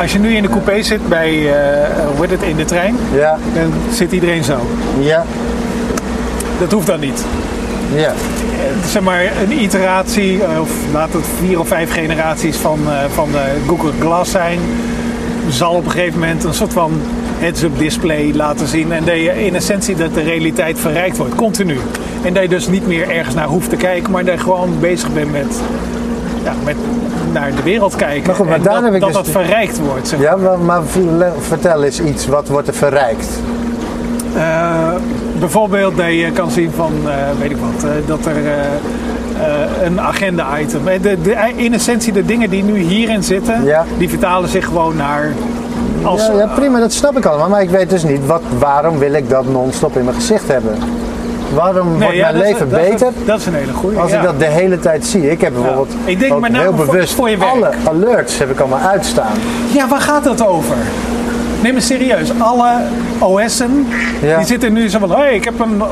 Speaker 1: Als je nu in de coupé zit bij, eh, hoe heet het, in de trein,
Speaker 2: Ja,
Speaker 1: dan zit iedereen zo.
Speaker 2: ja,
Speaker 1: Dat hoeft dan niet.
Speaker 2: ja.
Speaker 1: zeg maar, een iteratie, eh, of laat het vier of vijf generaties van, eh, van de Google Glass zijn, zal op een gegeven moment een soort van heads-up display laten zien. En dat je in essentie dat de realiteit verrijkt wordt, continu. En dat je dus niet meer ergens naar hoeft te kijken, maar dat je gewoon bezig bent met ja, met, naar de wereld kijken.
Speaker 2: Maar goed, maar
Speaker 1: en
Speaker 2: daar
Speaker 1: dat,
Speaker 2: heb ik
Speaker 1: dat
Speaker 2: dus
Speaker 1: dat
Speaker 2: de-
Speaker 1: verrijkt wordt. zeg.
Speaker 2: Ja, maar, maar verle- vertel eens iets, wat wordt er verrijkt?
Speaker 1: Eh, bijvoorbeeld dat je kan zien van, eh, weet ik wat, eh, dat er eh, eh, een agenda-item. Eh, De, de, in essentie de dingen die nu hierin zitten,
Speaker 2: Ja.
Speaker 1: die vertalen zich gewoon naar... Als,
Speaker 2: Ja, ja, prima, dat snap ik allemaal, maar ik weet dus niet, wat, waarom wil ik dat non-stop in mijn gezicht hebben? Waarom
Speaker 1: Nee,
Speaker 2: wordt
Speaker 1: ja,
Speaker 2: mijn
Speaker 1: dat is-
Speaker 2: leven
Speaker 1: dat is-
Speaker 2: beter?
Speaker 1: dat is een hele goede.
Speaker 2: Als ik dat de hele tijd zie, ik nou heb bijvoorbeeld
Speaker 1: Ik denk
Speaker 2: ook
Speaker 1: met name
Speaker 2: heel
Speaker 1: voor-
Speaker 2: bewust
Speaker 1: voor je werk.
Speaker 2: alle alerts heb ik allemaal uitstaan.
Speaker 1: Ja, waar gaat dat over? Neem me serieus. Alle OS'en
Speaker 2: Ja.
Speaker 1: die zitten nu zo van... hey, ik, heb een,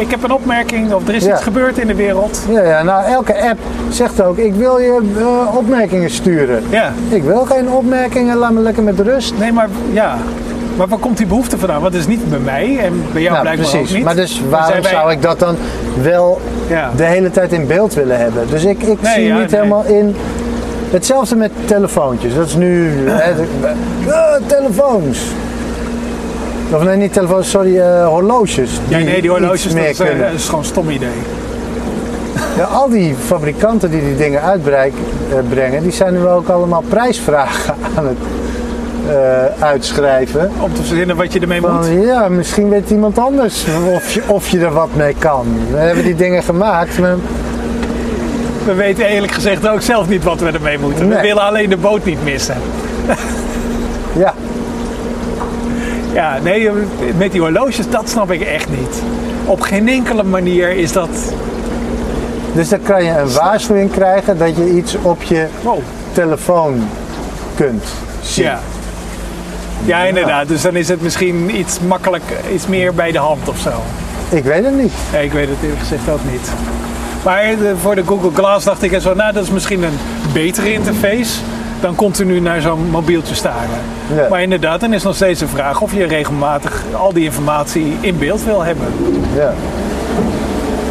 Speaker 1: ik heb een opmerking of er is
Speaker 2: Ja.
Speaker 1: iets gebeurd in de wereld.
Speaker 2: Ja, ja, nou elke app zegt ook, ik wil je eh, opmerkingen sturen.
Speaker 1: Ja.
Speaker 2: Ik wil geen opmerkingen, laat me lekker met rust.
Speaker 1: Nee, maar ja... Maar waar komt die behoefte vandaan? Want het is niet bij mij en bij jou
Speaker 2: nou,
Speaker 1: blijkbaar
Speaker 2: precies.
Speaker 1: ook niet.
Speaker 2: Maar dus
Speaker 1: Dan
Speaker 2: waarom
Speaker 1: zijn wij-
Speaker 2: zou ik dat dan wel
Speaker 1: Ja.
Speaker 2: de hele tijd in beeld willen hebben? Dus ik, ik
Speaker 1: Nee,
Speaker 2: zie
Speaker 1: ja,
Speaker 2: niet
Speaker 1: nee.
Speaker 2: helemaal in. Hetzelfde met telefoontjes. Dat is nu. hè, de- eh, telefoons. Of nee, niet telefoons, sorry, eh, horloges.
Speaker 1: Ja, nee, die horloges, dat
Speaker 2: iets meer
Speaker 1: is, eh,
Speaker 2: kunnen.
Speaker 1: dat is gewoon een stom idee.
Speaker 2: Ja, al die fabrikanten die die dingen uitbrengen, die zijn nu ook allemaal prijsvragen aan het eh, uitschrijven.
Speaker 1: Om te verzinnen wat je ermee moet.
Speaker 2: Van, Oh, ja, misschien weet iemand anders of je, of je er wat mee kan. We hebben die dingen gemaakt. Maar,
Speaker 1: We weten eerlijk gezegd ook zelf niet wat we ermee moeten. We
Speaker 2: Nee.
Speaker 1: willen alleen de boot niet missen.
Speaker 2: ja,
Speaker 1: Ja, nee, eh, met die horloges, dat snap ik echt niet. Op geen enkele manier is dat...
Speaker 2: dus dan kan je een waarschuwing krijgen dat je iets op je
Speaker 1: Wow.
Speaker 2: telefoon kunt zien.
Speaker 1: Ja. Ja, inderdaad. Dus dan is het misschien iets makkelijk, iets meer bij de hand of zo.
Speaker 2: Ik weet het niet.
Speaker 1: Nee, ik weet het eerlijk gezegd ook niet. Maar de- voor de Google Glass dacht ik en zo, nou dat is misschien een betere interface dan continu naar zo'n mobieltje staren.
Speaker 2: Ja.
Speaker 1: Maar inderdaad, dan is nog steeds de vraag of je regelmatig al die informatie in beeld wil hebben.
Speaker 2: Ja.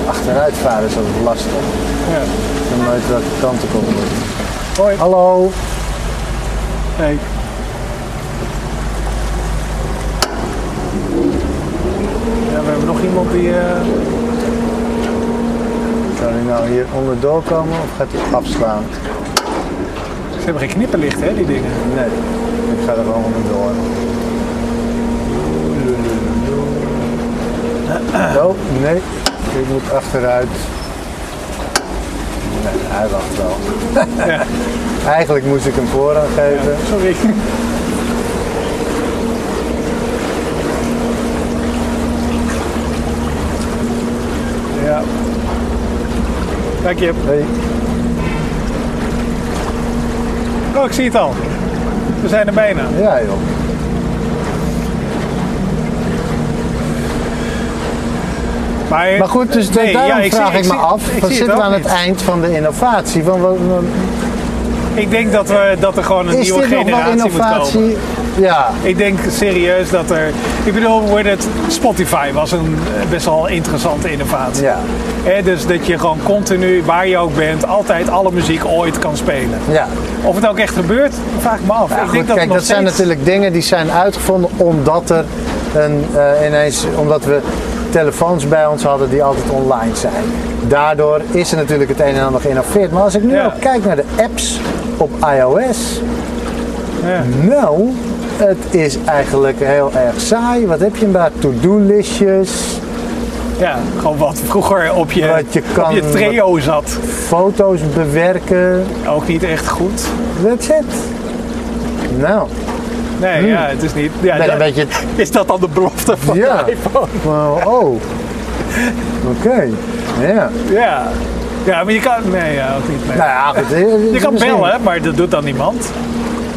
Speaker 2: Achteruit varen is altijd lastig.
Speaker 1: Ja.
Speaker 2: Ik weet nooit welke kant ik op moet.
Speaker 1: Hoi.
Speaker 2: Hallo.
Speaker 1: Nee. Ja, we hebben nog iemand die... eh,
Speaker 2: Zou hij nou hier onderdoor komen of gaat hij afslaan?
Speaker 1: Ze hebben geen knipperlicht, hè, die dingen.
Speaker 2: Nee, ik ga er gewoon onderdoor. Oh, nee, ik moet achteruit. Nee, hij wacht wel.
Speaker 1: Ja.
Speaker 2: Eigenlijk moest ik hem voorrang geven.
Speaker 1: Sorry. ja. Dank je.
Speaker 2: Hey,
Speaker 1: Oh, ik zie het al. We zijn er bijna.
Speaker 2: ja joh.
Speaker 1: Maar,
Speaker 2: Maar goed, dus da-
Speaker 1: Nee,
Speaker 2: daarom
Speaker 1: ja, ik
Speaker 2: vraag
Speaker 1: zie-
Speaker 2: ik,
Speaker 1: ik
Speaker 2: me
Speaker 1: zie-
Speaker 2: af,
Speaker 1: ik
Speaker 2: wat
Speaker 1: zie
Speaker 2: zit
Speaker 1: het
Speaker 2: er
Speaker 1: ook
Speaker 2: aan het
Speaker 1: niet.
Speaker 2: eind van de innovatie? Van, wat- wat-
Speaker 1: Ik denk dat, we, dat er gewoon een
Speaker 2: is
Speaker 1: nieuwe
Speaker 2: dit nog wel
Speaker 1: generatie moet komen.
Speaker 2: innovatie? Ja,
Speaker 1: Ik denk serieus dat er... Ik bedoel, wordt het, Spotify was een eh, best wel interessante innovatie.
Speaker 2: ja,
Speaker 1: Hè, dus dat je gewoon continu, waar je ook bent, altijd alle muziek ooit kan spelen.
Speaker 2: ja.
Speaker 1: Of het ook echt gebeurt, vraag ik me af.
Speaker 2: Ja,
Speaker 1: ik
Speaker 2: goed,
Speaker 1: denk dat
Speaker 2: kijk,
Speaker 1: het nog
Speaker 2: dat zijn
Speaker 1: steeds-
Speaker 2: natuurlijk dingen die zijn uitgevonden omdat er een, eh, ineens, omdat we telefoons bij ons hadden die altijd online zijn. Daardoor is er natuurlijk het een en ander geïnnoveerd. Maar als ik nu
Speaker 1: Ja.
Speaker 2: ook kijk naar de apps op iOS,
Speaker 1: Ja.
Speaker 2: nou, het is eigenlijk heel erg saai. Wat heb je maar to-do-listjes,
Speaker 1: Ja, gewoon wat vroeger op je,
Speaker 2: Wat je
Speaker 1: op
Speaker 2: kan-
Speaker 1: je trio zat.
Speaker 2: foto's bewerken,
Speaker 1: Ook niet echt goed.
Speaker 2: that's it. Nou,
Speaker 1: Nee, ja, het is niet. Ja,
Speaker 2: ben
Speaker 1: dat-
Speaker 2: een beetje,
Speaker 1: Is dat dan de belofte van
Speaker 2: Ja.
Speaker 1: de iPhone?
Speaker 2: oh, oh. oké, ja.
Speaker 1: Ja. Ja, maar je kan... Nee, ja, ook niet. nee.
Speaker 2: Nou ja, goed. eh,
Speaker 1: je kan
Speaker 2: misschien-
Speaker 1: bellen, hè, maar dat doet dan niemand.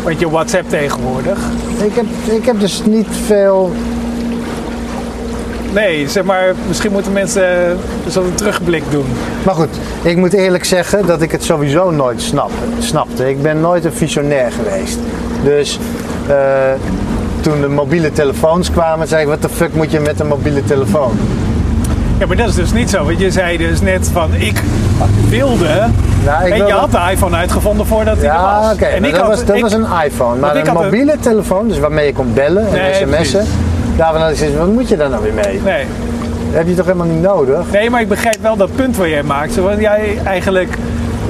Speaker 1: Want je WhatsApp tegenwoordig.
Speaker 2: Ik heb, ik heb dus niet veel.
Speaker 1: Nee, zeg maar, misschien moeten mensen eh, zo'n terugblik doen.
Speaker 2: Maar goed, ik moet eerlijk zeggen dat ik het sowieso nooit snap, snapte. Ik ben nooit een visionair geweest. Dus eh, toen de mobiele telefoons kwamen, zei ik: wat de fuck moet je met een mobiele telefoon?
Speaker 1: Ja, maar dat is dus niet zo. Want je zei dus net van, ik wilde...
Speaker 2: Nou, ik
Speaker 1: en je
Speaker 2: wilde-
Speaker 1: had de iPhone uitgevonden voordat hij er was.
Speaker 2: Ja, oké.
Speaker 1: en
Speaker 2: maar
Speaker 1: ik
Speaker 2: dat,
Speaker 1: had,
Speaker 2: was, dat
Speaker 1: ik-
Speaker 2: was een iPhone. Maar
Speaker 1: ik
Speaker 2: een
Speaker 1: had een-
Speaker 2: mobiele telefoon, dus waarmee je kon bellen en
Speaker 1: Nee,
Speaker 2: sms'en.
Speaker 1: precies.
Speaker 2: Daarvan had ik zoiets: wat moet je daar nou weer mee?
Speaker 1: Nee.
Speaker 2: Dat heb je toch helemaal niet nodig?
Speaker 1: nee, maar ik begrijp wel dat punt waar jij maakt. Zo van, jij eigenlijk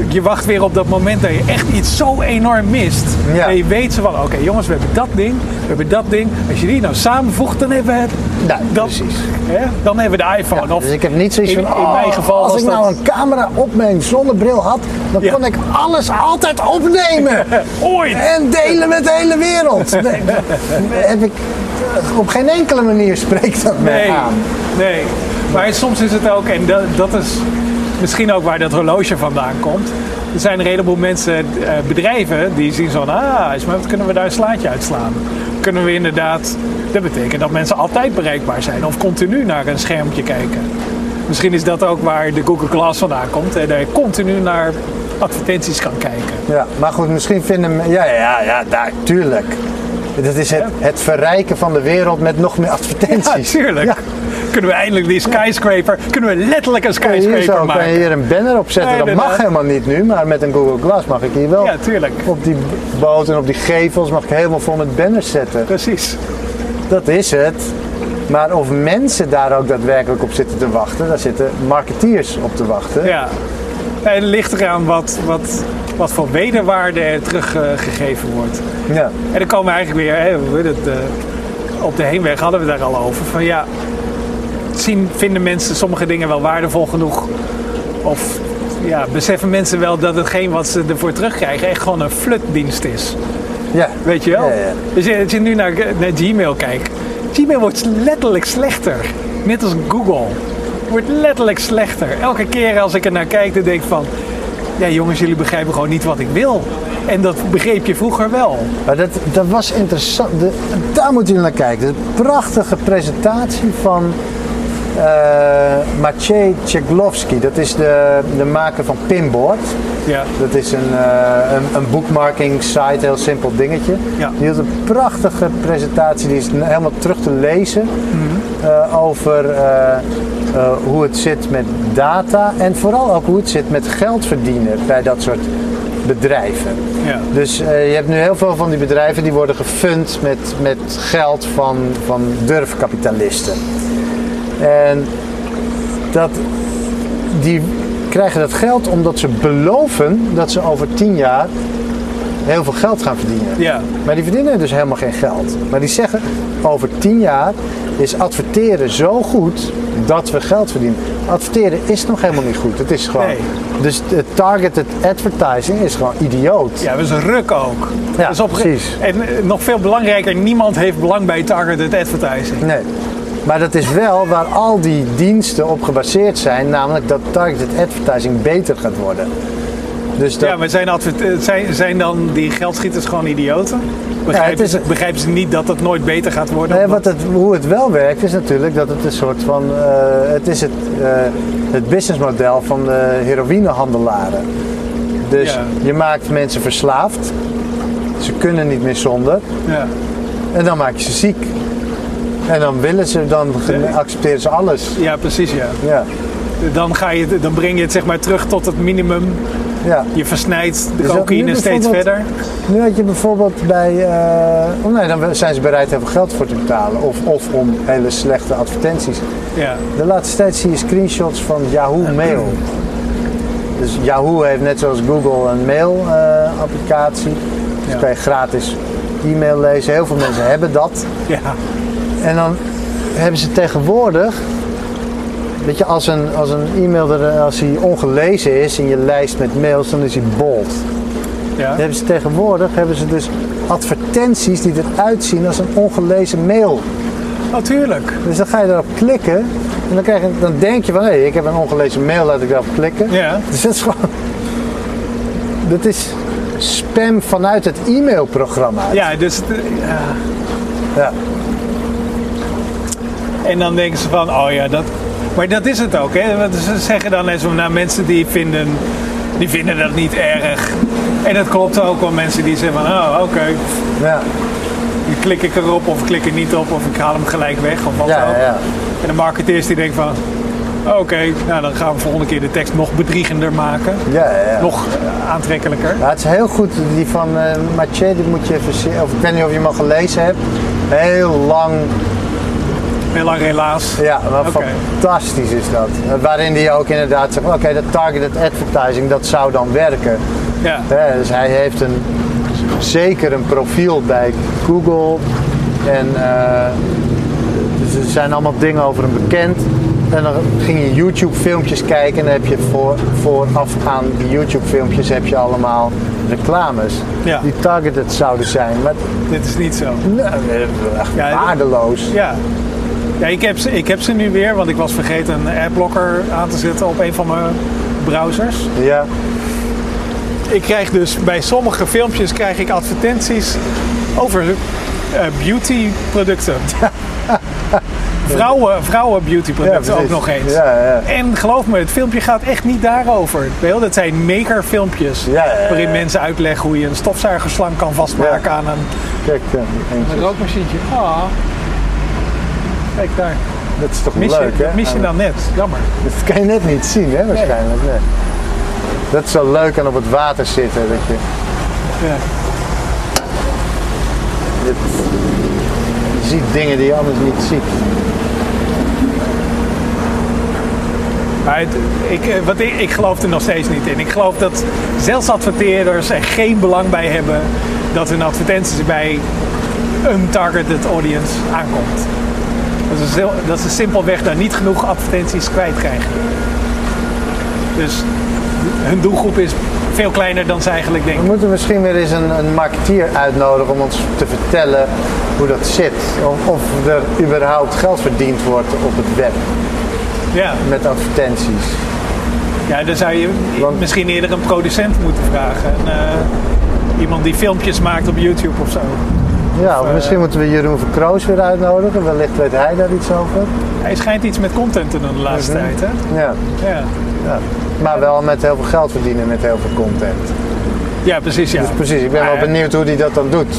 Speaker 1: je wacht weer op dat moment dat je echt iets zo enorm mist.
Speaker 2: Ja.
Speaker 1: En je weet ze van, oké jongens, we hebben dat ding, we hebben dat ding. Als je die nou samenvoegt, dan hebben we het.
Speaker 2: Ja,
Speaker 1: dan,
Speaker 2: precies.
Speaker 1: Hè, dan hebben we de iPhone. of,
Speaker 2: Dus ik heb niet zoiets
Speaker 1: in,
Speaker 2: van,
Speaker 1: in
Speaker 2: oh,
Speaker 1: mijn geval
Speaker 2: als
Speaker 1: was
Speaker 2: ik
Speaker 1: dat-
Speaker 2: nou een camera op mijn zonnebril had, dan
Speaker 1: Ja.
Speaker 2: kon ik alles altijd opnemen.
Speaker 1: Ooit.
Speaker 2: En delen met de hele wereld. Nee, heb ik, eh, op geen enkele manier spreekt dat mij
Speaker 1: Nee,
Speaker 2: aan.
Speaker 1: nee. Maar soms is het ook, en dat, dat is misschien ook waar dat horloge vandaan komt. Er zijn een heleboel mensen, eh, bedrijven, die zien zo van, ah, is maar wat kunnen we daar een slaatje uitslaan? Kunnen we inderdaad, dat betekent dat mensen altijd bereikbaar zijn of continu naar een schermpje kijken. Misschien is dat ook waar de Google Glass vandaan komt en dat je continu naar advertenties kan kijken.
Speaker 2: Ja, maar goed, misschien vinden men- Ja, ja, ja, daar, tuurlijk. Dat is het, het verrijken van de wereld met nog meer
Speaker 1: Ja,
Speaker 2: advertenties.
Speaker 1: tuurlijk.
Speaker 2: Ja.
Speaker 1: Kunnen we eindelijk die skyscraper, kunnen we letterlijk een
Speaker 2: Kan je
Speaker 1: skyscraper
Speaker 2: hier zo kan
Speaker 1: maken?
Speaker 2: je hier een banner op zetten.
Speaker 1: Nee,
Speaker 2: dat mag
Speaker 1: inderdaad.
Speaker 2: helemaal niet nu, maar met een Google Glass mag ik hier wel.
Speaker 1: Ja, tuurlijk.
Speaker 2: Op die boot en op die gevels mag ik helemaal vol met banners zetten.
Speaker 1: Precies.
Speaker 2: Dat is het. Maar of mensen daar ook daadwerkelijk op zitten te wachten, daar zitten marketeers op te wachten.
Speaker 1: Ja. En het ligt eraan wat, wat, wat voor wederwaarde er teruggegeven wordt.
Speaker 2: Ja.
Speaker 1: En dan komen we eigenlijk weer, hè, we het, eh, op de heenweg hadden we het daar al over. Van ja, zien, vinden mensen sommige dingen wel waardevol genoeg? Of ja, beseffen mensen wel dat hetgeen wat ze ervoor terugkrijgen echt gewoon een flutdienst is?
Speaker 2: Ja.
Speaker 1: Weet je wel?
Speaker 2: Ja, ja.
Speaker 1: Dus als je nu naar, naar Gmail kijkt, Gmail wordt letterlijk slechter. Net als Google. Wordt letterlijk slechter. Elke keer als ik er naar kijk, dan denk ik van. Ja, jongens, jullie begrijpen gewoon niet wat ik wil. En dat begreep je vroeger wel.
Speaker 2: Maar dat, dat was interessant. De- daar moeten jullie naar kijken. De prachtige presentatie van eh Maciej Czeglovski. Dat is de, de maker van Pinboard.
Speaker 1: Ja.
Speaker 2: Dat is een, eh, een, een bookmarking site, heel simpel dingetje.
Speaker 1: Ja.
Speaker 2: Die hield een prachtige presentatie, die is n- helemaal terug te lezen.
Speaker 1: Mhm.
Speaker 2: eh, over eh, eh, hoe het zit met data en vooral ook hoe het zit met geld verdienen bij dat soort bedrijven.
Speaker 1: Ja.
Speaker 2: Dus eh, je hebt nu heel veel van die bedrijven die worden gefund met, met geld van, van durfkapitalisten. En dat, die krijgen dat geld omdat ze beloven dat ze over tien jaar heel veel geld gaan verdienen.
Speaker 1: Ja.
Speaker 2: Maar die verdienen dus helemaal geen geld. Maar die zeggen, over tien jaar is adverteren zo goed dat we geld verdienen. Adverteren is nog helemaal niet goed. Het is gewoon...
Speaker 1: Nee.
Speaker 2: Dus eh, targeted advertising is gewoon idioot.
Speaker 1: Ja, dat is ruk ook.
Speaker 2: Ja,
Speaker 1: Dat is opge-
Speaker 2: precies.
Speaker 1: En eh, nog veel belangrijker, niemand heeft belang bij targeted advertising.
Speaker 2: Nee. Maar dat is wel waar al die diensten op gebaseerd zijn, namelijk dat targeted advertising beter gaat worden. Dus dat,
Speaker 1: Ja, maar zijn, advert- eh, zijn, zijn dan die geldschieters gewoon idioten? Begrijpen,
Speaker 2: is-
Speaker 1: ze, begrijpen ze niet dat het nooit beter gaat worden?
Speaker 2: nee,
Speaker 1: Omdat-
Speaker 2: wat het, hoe het wel werkt is natuurlijk dat het een soort van, eh, het is het, eh, het businessmodel van de heroïnehandelaren. Dus
Speaker 1: Ja.
Speaker 2: je maakt mensen verslaafd, ze kunnen niet meer zonder
Speaker 1: Ja.
Speaker 2: en dan maak je ze ziek. En dan willen ze, dan ge-
Speaker 1: Ja.
Speaker 2: accepteren ze alles.
Speaker 1: ja, precies ja.
Speaker 2: Ja,
Speaker 1: dan, ga je, dan breng je het zeg maar terug tot het minimum.
Speaker 2: ja.
Speaker 1: Je versnijdt de
Speaker 2: Is dat
Speaker 1: cocaïne
Speaker 2: nu
Speaker 1: steeds verder.
Speaker 2: bijvoorbeeld- Nu had je bijvoorbeeld bij. eh, oh nee, dan zijn ze bereid heel veel geld voor te betalen. Of, of om hele slechte advertenties.
Speaker 1: Ja,
Speaker 2: De laatste tijd zie je screenshots van Yahoo Mail. Dus Yahoo heeft net zoals Google een mail-applicatie. dus
Speaker 1: Ja.
Speaker 2: kan je gratis e-mail lezen. Heel veel mensen hebben dat.
Speaker 1: ja,
Speaker 2: En dan hebben ze tegenwoordig. Weet je, als een, als een e-mail er, als hij ongelezen is in je lijst met mails, dan is hij bold.
Speaker 1: ja.
Speaker 2: Dan hebben ze tegenwoordig hebben ze dus advertenties die eruit zien als een ongelezen mail.
Speaker 1: Natuurlijk.
Speaker 2: Dus dan ga je daarop klikken en dan, krijg je, dan denk je van hé, ik heb een ongelezen mail, laat ik daarop klikken.
Speaker 1: Ja.
Speaker 2: Dus dat is gewoon. Dat is spam vanuit het e-mailprogramma.
Speaker 1: Ja, dus het, ja.
Speaker 2: Ja.
Speaker 1: En dan denken ze van, oh ja, dat... Maar dat is het ook, hè. Want ze zeggen dan eens van, nou, mensen die vinden, die vinden dat niet erg. En dat klopt ook wel mensen die zeggen van, oh, oké,
Speaker 2: Ja.
Speaker 1: dan klik ik erop of klik er niet op of ik haal hem gelijk weg of wat
Speaker 2: Ja,
Speaker 1: dan ook.
Speaker 2: ja, ja.
Speaker 1: En de marketeers die denken van, oké, nou dan gaan we volgende keer de tekst nog bedriegender maken.
Speaker 2: ja, ja, ja.
Speaker 1: Nog eh, aantrekkelijker.
Speaker 2: Ja, het is heel goed, die van eh, Mathieu, die moet je even zien. Of ik weet niet of je hem al gelezen hebt. Heel lang
Speaker 1: Heel helaas.
Speaker 2: Ja, wat
Speaker 1: Oké.
Speaker 2: fantastisch is dat. Eh, Waarin hij ook inderdaad zegt, oké, dat targeted advertising, dat zou dan werken.
Speaker 1: Ja.
Speaker 2: Hè, dus hij heeft een, zeker een profiel bij Google. En eh, dus er zijn allemaal dingen over hem bekend. En dan ging je YouTube filmpjes kijken en dan heb je voor, vooraf aan die YouTube filmpjes heb je allemaal reclames.
Speaker 1: Ja.
Speaker 2: Die targeted zouden zijn. Maar
Speaker 1: Dit is niet zo.
Speaker 2: nee, echt
Speaker 1: Ja, dat-
Speaker 2: waardeloos.
Speaker 1: Ja. Ja, ik heb, ze, ik heb ze nu weer, want ik was vergeten een adblocker aan te zetten op een van mijn browsers.
Speaker 2: Ja.
Speaker 1: Ik krijg dus bij sommige filmpjes krijg ik advertenties over eh, beauty producten. Vrouwen, vrouwen beauty producten ook
Speaker 2: precies.
Speaker 1: nog eens.
Speaker 2: Ja, ja.
Speaker 1: En geloof me, het filmpje gaat echt niet daarover. Wel, Dat zijn maker filmpjes.
Speaker 2: Ja, ja, ja.
Speaker 1: Waarin mensen uitleggen hoe je een stofzuigerslang kan vastmaken aan een,
Speaker 2: Kijk, eh, eentje.
Speaker 1: een rookmachientje. Ah. Kijk daar.
Speaker 2: dat is toch
Speaker 1: Mis je,
Speaker 2: leuk, hè?
Speaker 1: mis je nou- dan net. Jammer.
Speaker 2: Dat kan je net niet zien, hè, waarschijnlijk. Nee. Dat is wel leuk aan op het water zitten. Dat je,
Speaker 1: Ja.
Speaker 2: dit, je ziet dingen die je anders niet ziet.
Speaker 1: Maar het- ik, eh, wat ik, ik geloof er nog steeds niet in. Ik geloof dat zelfs adverteerders er geen belang bij hebben dat hun advertenties bij een targeted audience aankomt. Dat ze, zel- dat ze simpelweg daar niet genoeg advertenties kwijtkrijgen. Dus hun doelgroep is veel kleiner dan ze eigenlijk
Speaker 2: We
Speaker 1: denken.
Speaker 2: moeten misschien weer eens een, een marketeer uitnodigen om ons te vertellen hoe dat zit. Of, of er überhaupt geld verdiend wordt op het web
Speaker 1: Ja,
Speaker 2: met advertenties.
Speaker 1: ja dan zou je
Speaker 2: Want-
Speaker 1: misschien eerder een producent moeten vragen. Een, eh, iemand die filmpjes maakt op YouTube of zo.
Speaker 2: Ja,
Speaker 1: Of,
Speaker 2: of
Speaker 1: eh,
Speaker 2: misschien moeten we Jeroen van Kroos weer uitnodigen. Wellicht weet hij daar iets over.
Speaker 1: Hij schijnt iets met content te doen de laatste
Speaker 2: Mhm.
Speaker 1: tijd, hè?
Speaker 2: Ja,
Speaker 1: Ja.
Speaker 2: ja. Maar wel met heel veel geld verdienen met heel veel content.
Speaker 1: Ja, precies. Ja.
Speaker 2: Dus precies, ik ben wel
Speaker 1: Hij-
Speaker 2: benieuwd hoe hij dat dan doet.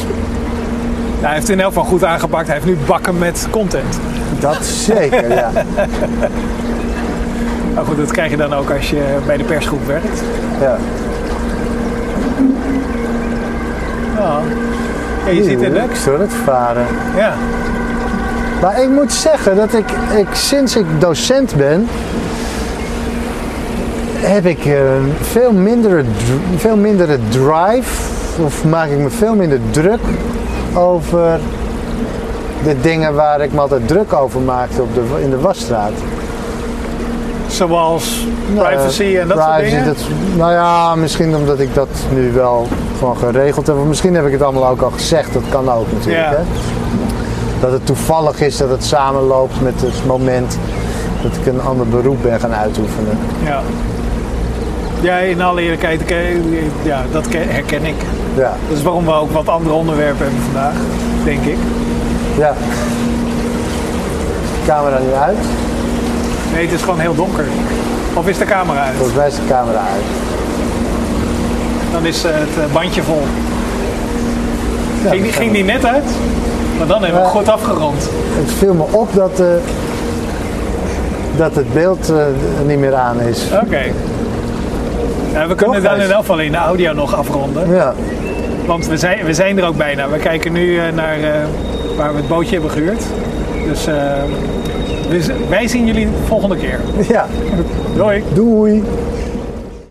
Speaker 1: Hij heeft in elk geval goed aangepakt. Hij heeft nu bakken met content.
Speaker 2: Dat zeker, ja.
Speaker 1: Maar goed, dat krijg je dan ook als je bij de persgroep werkt.
Speaker 2: ja.
Speaker 1: Ja. En je ziet in de...
Speaker 2: Ik zal het varen.
Speaker 1: Ja.
Speaker 2: Maar ik moet zeggen dat ik, ik sinds ik docent ben, heb ik een veel mindere, dr- veel mindere drive, of maak ik me veel minder druk over de dingen waar ik me altijd druk over maakte op de, in de wasstraat.
Speaker 1: Zoals
Speaker 2: Nou,
Speaker 1: privacy en dat
Speaker 2: privacy,
Speaker 1: soort dingen.
Speaker 2: dat- nou ja, misschien omdat ik dat nu wel gewoon geregeld heb. Of misschien heb ik het allemaal ook al gezegd. Dat kan ook natuurlijk.
Speaker 1: Ja.
Speaker 2: Hè? Dat het toevallig is dat het samenloopt met het moment dat ik een ander beroep ben gaan uitoefenen.
Speaker 1: Ja. ja, in alle eerlijkheid, ik- ja, dat ke- herken ik.
Speaker 2: Ja,
Speaker 1: Dat is waarom we ook wat andere onderwerpen hebben vandaag, denk ik.
Speaker 2: ja. Camera nu uit.
Speaker 1: Nee, het is gewoon heel donker. Of is de camera uit?
Speaker 2: Volgens mij is de camera uit.
Speaker 1: Dan is eh, het eh, bandje vol.
Speaker 2: Ja,
Speaker 1: ging, die- ging die net uit? Maar dan hebben we
Speaker 2: Ja.
Speaker 1: goed afgerond.
Speaker 2: Het viel me op dat, eh, dat het beeld eh, niet meer aan is.
Speaker 1: Oké. Nou, we kunnen
Speaker 2: Nog
Speaker 1: dan in
Speaker 2: eens.
Speaker 1: elk geval in de audio nog afronden.
Speaker 2: Ja,
Speaker 1: Want we zijn, we zijn er ook bijna. We kijken nu eh, naar eh, waar we het bootje hebben gehuurd. Dus eh, we z- wij zien jullie volgende keer.
Speaker 2: ja.
Speaker 1: Doei!
Speaker 2: doei.